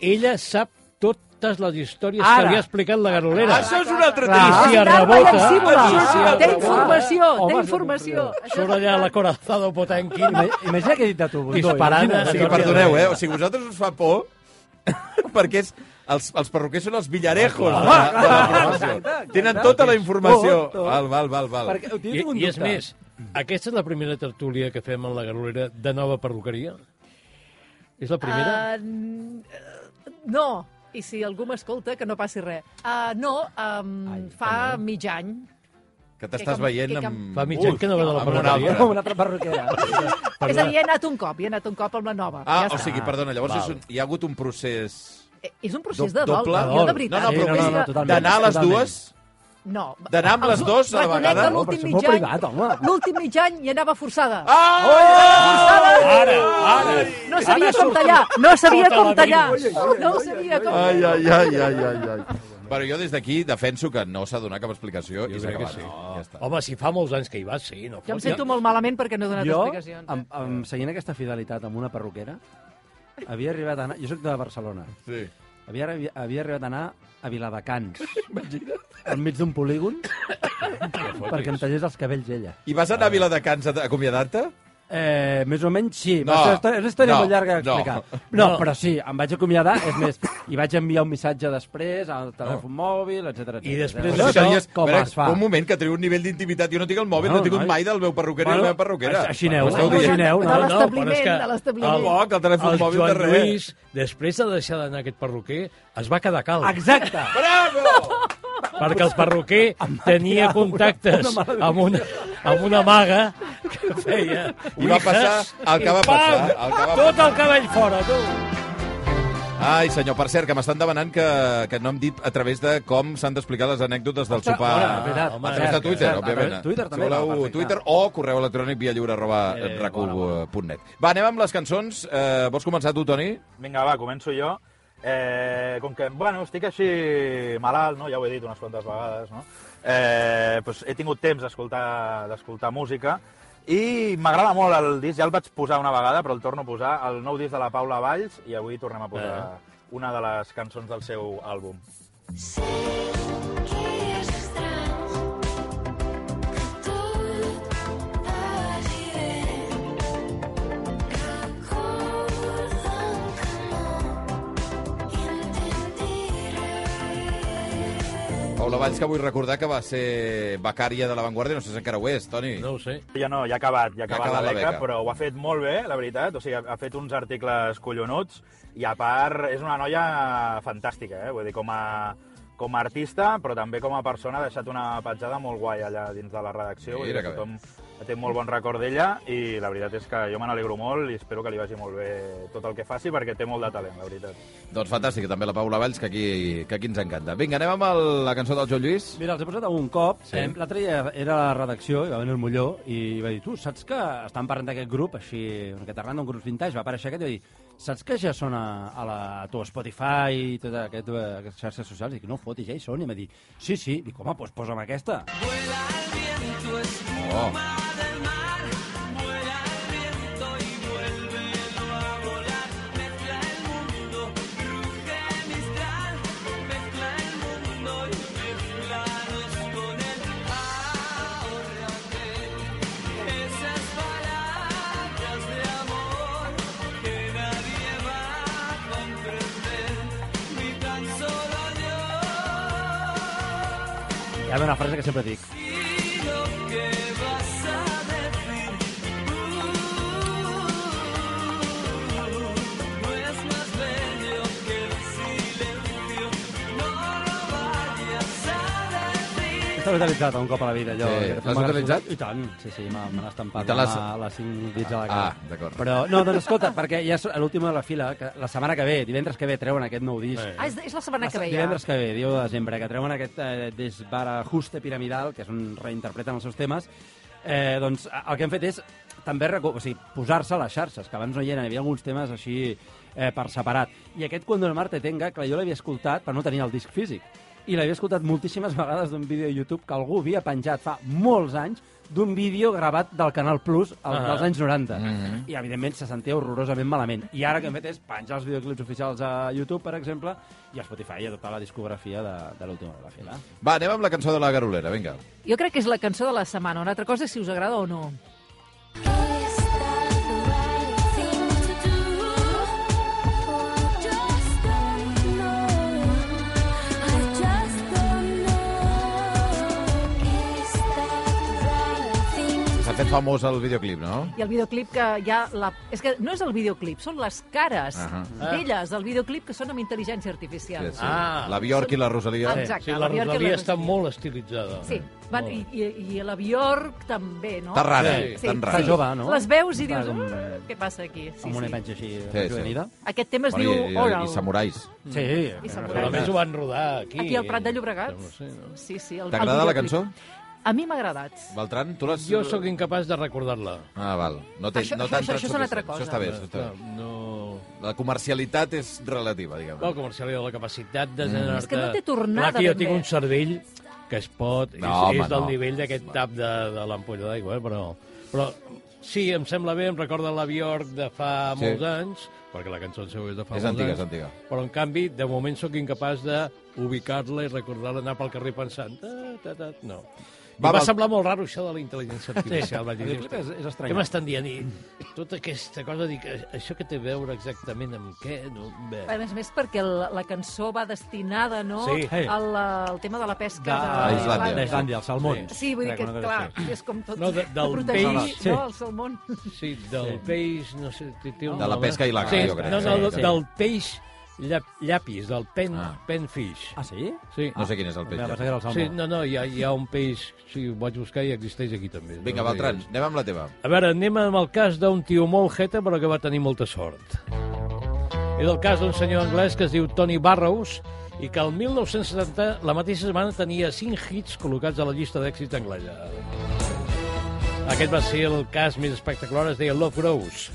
[SPEAKER 6] Ella sap totes les històries
[SPEAKER 3] Ara.
[SPEAKER 6] que li ha explicat la garolera.
[SPEAKER 2] Això és un altre
[SPEAKER 3] Clar.
[SPEAKER 2] tema.
[SPEAKER 6] I si
[SPEAKER 4] Darba
[SPEAKER 6] arrebota...
[SPEAKER 3] ah,
[SPEAKER 4] llancívola.
[SPEAKER 6] I si
[SPEAKER 4] Té
[SPEAKER 6] arrebota-
[SPEAKER 4] informació, té
[SPEAKER 3] Home,
[SPEAKER 4] informació.
[SPEAKER 6] Surt allà la Corazado Potemkin
[SPEAKER 3] Ima- Imagina què he dit de tu, Bundó.
[SPEAKER 6] Disparant
[SPEAKER 3] imagina.
[SPEAKER 6] a-
[SPEAKER 2] O sigui, perdoneu, eh? O sigui, vosaltres us fa por <laughs> perquè és, els, els perruquers són els villarejos de, la- de la professió. Tenen tota la informació.
[SPEAKER 3] Tot, tot.
[SPEAKER 2] Val, val, val, val.
[SPEAKER 3] Perquè, ho tinc
[SPEAKER 6] I,
[SPEAKER 3] un
[SPEAKER 6] I és
[SPEAKER 3] dubte.
[SPEAKER 6] més, aquesta és la primera tertúlia que fem en la Garolera de nova perruqueria? És la primera?
[SPEAKER 4] Uh, no, i si algú m'escolta, que no passi res. Uh, no, um,
[SPEAKER 3] Ai,
[SPEAKER 4] fa mig any.
[SPEAKER 2] Que t'estàs
[SPEAKER 4] que-
[SPEAKER 2] veient
[SPEAKER 4] que-
[SPEAKER 2] amb...
[SPEAKER 6] Fa mitjà que no vas a la
[SPEAKER 2] amb una
[SPEAKER 6] perruqueria.
[SPEAKER 2] altra.
[SPEAKER 3] Una altra perruquera.
[SPEAKER 4] És a dir, he anat un cop, hi he anat un cop amb la nova.
[SPEAKER 2] Ah,
[SPEAKER 4] ja
[SPEAKER 2] o
[SPEAKER 4] està.
[SPEAKER 2] sigui, perdona, llavors
[SPEAKER 6] Val.
[SPEAKER 2] és un, hi ha hagut un procés...
[SPEAKER 4] Eh, És un procés
[SPEAKER 2] do-
[SPEAKER 4] de dol,
[SPEAKER 2] doble?
[SPEAKER 4] jo de
[SPEAKER 2] No,
[SPEAKER 4] veritat.
[SPEAKER 2] no, però
[SPEAKER 3] Sí, no, no,
[SPEAKER 4] és
[SPEAKER 3] no,
[SPEAKER 4] que-
[SPEAKER 3] totalment.
[SPEAKER 2] d'anar a les
[SPEAKER 3] totalment.
[SPEAKER 2] dues...
[SPEAKER 4] No.
[SPEAKER 2] D'anar amb les dues a la
[SPEAKER 4] Reconec
[SPEAKER 2] vegada?
[SPEAKER 4] que
[SPEAKER 3] No, però això
[SPEAKER 4] l'últim
[SPEAKER 3] és
[SPEAKER 4] mig
[SPEAKER 3] molt
[SPEAKER 4] any...
[SPEAKER 3] privat, home.
[SPEAKER 4] L'últim mig any hi anava forçada.
[SPEAKER 2] Ah!
[SPEAKER 6] Ara, ara!
[SPEAKER 4] No sabia com tallar, no sabia com tallar. No sabia com
[SPEAKER 2] Ai, ai, ai, ai, ai, ai. Bueno, jo des d'aquí defenso que no s'ha donat cap explicació i s'ha
[SPEAKER 6] crec que
[SPEAKER 2] acabat.
[SPEAKER 6] sí.
[SPEAKER 2] No, ja està.
[SPEAKER 6] Home, si fa molts anys que hi vas, sí. No
[SPEAKER 4] Jo em
[SPEAKER 6] fot.
[SPEAKER 4] sento molt malament perquè no he donat
[SPEAKER 3] Jo,
[SPEAKER 4] explicacions. eh?
[SPEAKER 3] amb, amb, seguint aquesta fidelitat amb una perruquera, havia arribat a anar... Jo sóc de Barcelona.
[SPEAKER 2] Sí.
[SPEAKER 3] Havia, arri- havia arribat a anar a Viladecans. enmig d'un polígon perquè em tallés els cabells ella.
[SPEAKER 2] I vas anar a Viladecans a acomiadar-te?
[SPEAKER 3] Eh, més o menys sí.
[SPEAKER 2] No,
[SPEAKER 3] Va ser, histò- és una història
[SPEAKER 2] no,
[SPEAKER 3] molt llarga
[SPEAKER 2] no.
[SPEAKER 3] d'explicar. No, no, però sí, em vaig acomiadar, és més, i vaig enviar un missatge després al telèfon mòbil, etc.
[SPEAKER 6] I després
[SPEAKER 2] Però
[SPEAKER 6] Però
[SPEAKER 2] si tenies...
[SPEAKER 3] com
[SPEAKER 2] a veure,
[SPEAKER 3] es fa?
[SPEAKER 2] Un moment, que teniu un nivell d'intimitat. Jo no tinc el mòbil,
[SPEAKER 3] No,
[SPEAKER 2] no, he tinc
[SPEAKER 3] noi.
[SPEAKER 2] mai del meu perruquer i
[SPEAKER 3] Bueno,
[SPEAKER 2] la meva perruquera.
[SPEAKER 3] així aneu,
[SPEAKER 2] M'esteu
[SPEAKER 3] eh?
[SPEAKER 2] dient?
[SPEAKER 3] Així aneu,
[SPEAKER 4] de
[SPEAKER 3] no,
[SPEAKER 6] no, però és
[SPEAKER 4] l'establiment,
[SPEAKER 6] que
[SPEAKER 4] de
[SPEAKER 2] El
[SPEAKER 4] l'establiment.
[SPEAKER 2] boc, el telèfon
[SPEAKER 6] El
[SPEAKER 2] mòbil de
[SPEAKER 6] Joan
[SPEAKER 2] res.
[SPEAKER 6] Lluís, després de deixar d'anar aquest perruquer, es va quedar calm.
[SPEAKER 3] Exacte!
[SPEAKER 2] Bravo!
[SPEAKER 6] perquè el perruquer tenia contactes amb una, amb una maga que feia...
[SPEAKER 2] I va passar el que va
[SPEAKER 6] i pam!
[SPEAKER 2] passar, el que va
[SPEAKER 6] Tot el cabell fora, tu!
[SPEAKER 2] Ai, senyor, per cert, que m'estan demanant que, que no hem dit a través de com s'han d'explicar les anècdotes del
[SPEAKER 3] Ostres,
[SPEAKER 2] sopar.
[SPEAKER 3] hola, veritat.
[SPEAKER 2] a través de
[SPEAKER 6] Home,
[SPEAKER 2] Twitter,
[SPEAKER 3] cert,
[SPEAKER 2] òbviament.
[SPEAKER 3] a través de Twitter
[SPEAKER 2] Si
[SPEAKER 3] també,
[SPEAKER 2] voleu,
[SPEAKER 3] va, perfecte.
[SPEAKER 2] Twitter o correu electrònic via lliure arroba eh, racu.net. Va, anem amb les cançons. Eh, vols començar tu, Toni?
[SPEAKER 5] Vinga, va, començo jo. Eh, com que, bueno, estic així malalt, no? ja ho he dit unes quantes vegades, no? eh, doncs he tingut temps d'escoltar d'escoltar música i m'agrada molt el disc, ja el vaig posar una vegada, però el torno a posar, el nou disc de la Paula Valls, i avui tornem a posar una de les cançons del seu àlbum.
[SPEAKER 1] Sé que és estrany, que tot vagi bé. Recorda'm que no intentiré.
[SPEAKER 2] Paula Valls, que vull recordar que va ser becària de l'avantguàrdia, no sé si encara ho és, Toni.
[SPEAKER 6] No ho sé.
[SPEAKER 5] Ja no, ja ha acabat, ja ha acabat,
[SPEAKER 2] acabat la
[SPEAKER 5] la, beca,
[SPEAKER 2] beca.
[SPEAKER 5] però ho ha fet molt bé, la veritat. O sigui, ha, ha fet uns articles collonuts i, a part, és una noia fantàstica, eh? Vull dir, com a, com a artista, però també com a persona, ha deixat una petjada molt guai allà dins de la redacció. Vull
[SPEAKER 2] Mira
[SPEAKER 5] dir, que
[SPEAKER 2] que
[SPEAKER 5] tothom té molt bon record d'ella i la veritat és que jo me n'alegro molt i espero que li vagi molt bé tot el que faci perquè té molt de talent, la veritat.
[SPEAKER 2] Doncs fantàstic, també la Paula Valls, que aquí, que aquí ens encanta. Vinga, anem amb el, la cançó del Joan Lluís.
[SPEAKER 3] Mira, els he posat un cop.
[SPEAKER 2] Sí.
[SPEAKER 3] Sí. L'altre dia era a la redacció, i va venir el Molló, i va dir, tu, saps que estan parlant d'aquest grup, així, una miqueta random, un grup vintage, va aparèixer aquest i va dir, saps que ja són a, a, la, a tu Spotify i totes aquest, eh, aquestes xarxes socials? Dic, no fotis, ja hi són. I em va dir, sí, sí. Dic, home, doncs posa'm aquesta.
[SPEAKER 2] Oh.
[SPEAKER 3] Hi ha una frase que sempre dic. Està utilitzat un cop a la vida, allò.
[SPEAKER 2] Sí.
[SPEAKER 3] Que
[SPEAKER 2] L'has
[SPEAKER 3] m'ha
[SPEAKER 2] utilitzat?
[SPEAKER 3] resultat- I tant, sí, sí, me me l'ha estampat
[SPEAKER 2] I te l'has-
[SPEAKER 3] a les cinc dits de la cara.
[SPEAKER 2] Ah, d'acord.
[SPEAKER 3] Però, no, doncs escolta, perquè ja és a l'última de la fila, que la setmana que ve, divendres que ve, treuen aquest nou disc.
[SPEAKER 6] Sí.
[SPEAKER 4] Ah, és, és la setmana que ve, ja.
[SPEAKER 3] Divendres que ve, 10 de desembre, que treuen aquest eh, desbarajuste piramidal, que és on reinterpreten els seus temes, eh, doncs a- el que hem fet és també reco- o sigui, posar-se a les xarxes, que abans no hi eren, hi havia alguns temes així eh, per separat. I aquest Cuando el mar te tenga, clar, jo l'havia escoltat, però no tenia el disc físic, i l'havia escoltat moltíssimes <laughs> vegades d'un vídeo a YouTube que algú havia penjat fa molts anys d'un vídeo gravat del Canal Plus al,
[SPEAKER 6] Ah.
[SPEAKER 3] dels anys 90.
[SPEAKER 2] Mhm.
[SPEAKER 3] I, evidentment, se sentia horrorosament malament. I ara el que hem fet és penjar els videoclips oficials a YouTube, per exemple, i a Spotify, i a tota la discografia de, de l'última hora de la fila.
[SPEAKER 2] Va, anem amb la cançó de la Garolera, vinga.
[SPEAKER 4] Jo crec que és la cançó de la setmana. Una altra cosa és si us agrada o no.
[SPEAKER 1] Is that the right thing to do? Or just don't know. I just don't know. Is that the right thing to
[SPEAKER 2] S'ha fet famós el videoclip, no?
[SPEAKER 4] I el videoclip que hi ha... La... És que no és el videoclip, són les cares
[SPEAKER 2] Ahà.
[SPEAKER 4] d'elles, del videoclip, que són amb intel·ligència artificial.
[SPEAKER 2] Sí, sí.
[SPEAKER 6] Ah.
[SPEAKER 2] La Bjork i la Rosalia.
[SPEAKER 4] Exacte.
[SPEAKER 6] sí, la
[SPEAKER 4] la Bjork i la
[SPEAKER 6] Rosalia està
[SPEAKER 4] Rosalia.
[SPEAKER 6] molt estilitzada.
[SPEAKER 4] Sí, van, i, i, i la Bjork també, no?
[SPEAKER 2] Tan rara,
[SPEAKER 6] Sí.
[SPEAKER 2] tan
[SPEAKER 4] Sí.
[SPEAKER 2] rara.
[SPEAKER 3] Està jove, no?
[SPEAKER 4] Les veus i
[SPEAKER 3] Està
[SPEAKER 4] dius,
[SPEAKER 3] com-
[SPEAKER 4] "Mm, què passa aquí? Sí,
[SPEAKER 3] amb una
[SPEAKER 4] sí.
[SPEAKER 3] imatge així
[SPEAKER 2] sí.
[SPEAKER 3] sí, juvenida.
[SPEAKER 4] Aquest tema es
[SPEAKER 2] Bueno, i,
[SPEAKER 4] diu
[SPEAKER 2] i,
[SPEAKER 4] Oral.
[SPEAKER 2] I samurais.
[SPEAKER 3] Sí.
[SPEAKER 4] I
[SPEAKER 6] Però a
[SPEAKER 4] samurai.
[SPEAKER 6] més ho van rodar aquí.
[SPEAKER 4] Aquí al Prat de Llobregat.
[SPEAKER 6] Sembla ser, no?
[SPEAKER 4] Sí, sí. el- el
[SPEAKER 2] T'agrada la
[SPEAKER 4] videoclip.
[SPEAKER 2] cançó?
[SPEAKER 4] A mi m'ha agradat.
[SPEAKER 2] Beltran, tu l'has...
[SPEAKER 6] Jo sóc incapaç de recordar-la.
[SPEAKER 2] Ah, val. No té,
[SPEAKER 4] Això-
[SPEAKER 2] no
[SPEAKER 4] això-
[SPEAKER 2] t'ha
[SPEAKER 4] això-
[SPEAKER 2] entrat
[SPEAKER 4] això és una altra
[SPEAKER 2] suficient.
[SPEAKER 4] cosa.
[SPEAKER 2] Això està bé, això està
[SPEAKER 6] No,
[SPEAKER 2] bé.
[SPEAKER 6] no...
[SPEAKER 2] La comercialitat és relativa, diguem.
[SPEAKER 6] Bueno, comercial, la capacitat
[SPEAKER 2] Mm.
[SPEAKER 6] de generar-te...
[SPEAKER 4] És que no té tornada,
[SPEAKER 6] Clar que jo
[SPEAKER 4] ben
[SPEAKER 6] tinc
[SPEAKER 4] bé.
[SPEAKER 6] un cervell que es pot...
[SPEAKER 2] No,
[SPEAKER 6] és,
[SPEAKER 2] home,
[SPEAKER 6] és del
[SPEAKER 2] no.
[SPEAKER 6] nivell d'aquest tap de, de l'ampolla d'aigua, eh? però... Però sí, em sembla bé, em recorda la Bjork de fa
[SPEAKER 2] Sí.
[SPEAKER 6] molts anys, perquè la cançó en seu és de fa
[SPEAKER 2] És
[SPEAKER 6] molts
[SPEAKER 2] antiga,
[SPEAKER 6] anys.
[SPEAKER 2] és antiga.
[SPEAKER 6] Però, en canvi, de moment sóc incapaç d'ubicar-la i recordar-la, anar pel carrer pensant... Ta, ta, ta, no. I
[SPEAKER 2] Va,
[SPEAKER 6] va,
[SPEAKER 2] va.
[SPEAKER 6] va semblar molt raro això de la intel·ligència artificial. vaig dir,
[SPEAKER 3] El videoclip és- és estrany.
[SPEAKER 6] Què m'estan dient? I tota aquesta cosa, dic, això que té a veure exactament amb què? No, bé.
[SPEAKER 4] A més, a més perquè la, la cançó va destinada no,
[SPEAKER 6] Sí.
[SPEAKER 4] al, al tema de la pesca
[SPEAKER 3] Ah, De-
[SPEAKER 4] de-
[SPEAKER 2] Islàndia.
[SPEAKER 3] D'Islàndia, els salmons.
[SPEAKER 4] Sí, vull dir
[SPEAKER 3] Crec
[SPEAKER 4] que,
[SPEAKER 3] una cosa
[SPEAKER 4] clar,
[SPEAKER 3] així.
[SPEAKER 4] és com tot...
[SPEAKER 6] No, de- del
[SPEAKER 4] protegir,
[SPEAKER 6] peix.
[SPEAKER 3] Sí.
[SPEAKER 4] no, el salmón.
[SPEAKER 6] Sí, del sí. peix... No sé, té, té un
[SPEAKER 2] De la
[SPEAKER 6] nom, eh?
[SPEAKER 2] pesca il·legal,
[SPEAKER 6] sí,
[SPEAKER 2] jo crec.
[SPEAKER 6] No, no,
[SPEAKER 2] Sí,
[SPEAKER 6] del,
[SPEAKER 2] sí.
[SPEAKER 6] del peix llap, llapis, del pen,
[SPEAKER 2] Ah.
[SPEAKER 6] ah. penfish.
[SPEAKER 3] Ah, sí?
[SPEAKER 6] Sí.
[SPEAKER 2] No sé quin és el
[SPEAKER 3] Em va pensar que
[SPEAKER 2] peix.
[SPEAKER 3] era el
[SPEAKER 6] sí,
[SPEAKER 3] salmó.
[SPEAKER 6] no, no, hi ha, hi ha un peix... Sí, ho vaig buscar i existeix aquí també.
[SPEAKER 2] Vinga,
[SPEAKER 6] No,
[SPEAKER 2] Beltran, anem amb la teva.
[SPEAKER 6] A veure, anem amb el cas d'un tio molt jeta, però que va tenir molta sort. És el cas d'un senyor anglès que es diu Tony Barrows i que el 1970, la mateixa setmana, tenia 5 hits col·locats a la llista d'èxits anglesa. Aquest va ser el cas més espectacular, es deia Love Grows.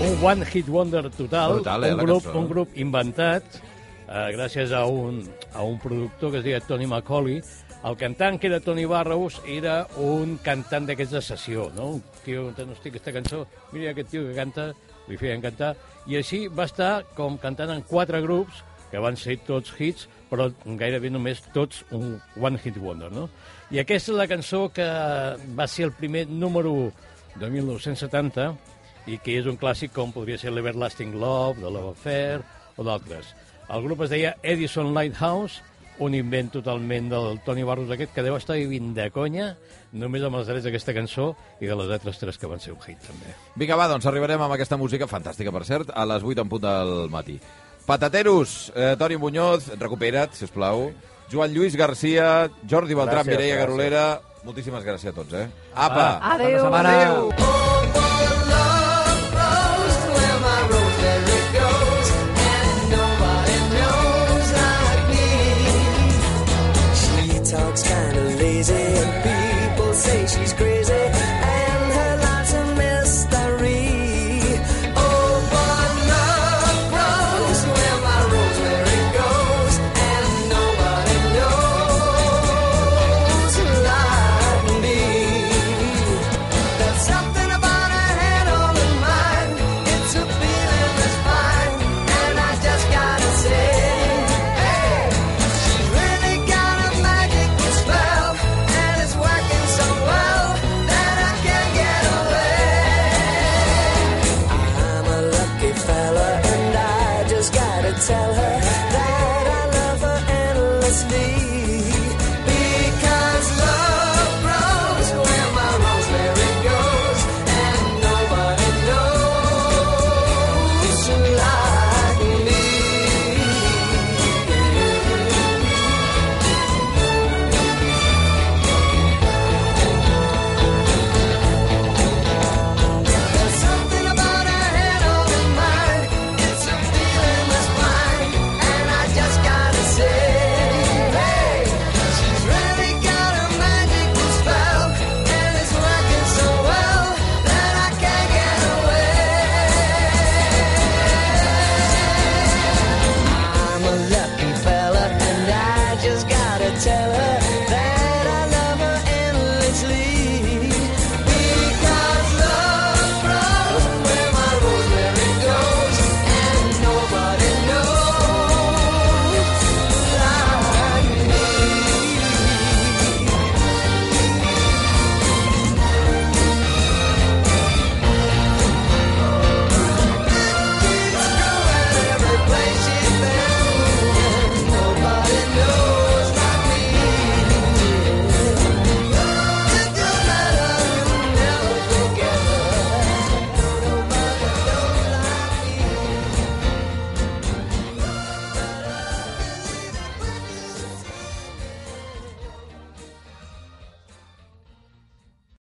[SPEAKER 6] Un one hit wonder total,
[SPEAKER 2] Brutal, eh,
[SPEAKER 6] un,
[SPEAKER 2] la
[SPEAKER 6] grup,
[SPEAKER 2] cançó.
[SPEAKER 6] un grup inventat eh, gràcies a un, a un productor que es deia Tony McCauley. El cantant que era Tony Barrows era un cantant d'aquests de sessió, no? Un tio, no estic aquesta cançó, mira aquest tio que canta, li feien cantar, i així va estar com cantant en quatre grups, que van ser tots hits, però gairebé només tots un one hit wonder, no? I aquesta és la cançó que va ser el primer número 1 de 1970, i que és un clàssic com podria ser l'Everlasting Love, de Love Affair o d'altres. El grup es deia Edison Lighthouse, un invent totalment del Tony Barros aquest, que deu estar vivint de conya només amb els drets d'aquesta cançó i de les altres tres que van ser un hit, també.
[SPEAKER 2] Vinga, va, doncs arribarem amb aquesta música fantàstica, per cert, a les 8 en punt del matí. Patateros, eh, Toni Muñoz, recupera't, si us plau. Joan Lluís Garcia, Jordi Beltrán,
[SPEAKER 5] Gràcies,
[SPEAKER 2] Mireia
[SPEAKER 5] gràcies.
[SPEAKER 2] Garolera... Moltíssimes gràcies a tots, eh? Apa!
[SPEAKER 4] Adéu.
[SPEAKER 3] Bona setmana.
[SPEAKER 4] Adéu.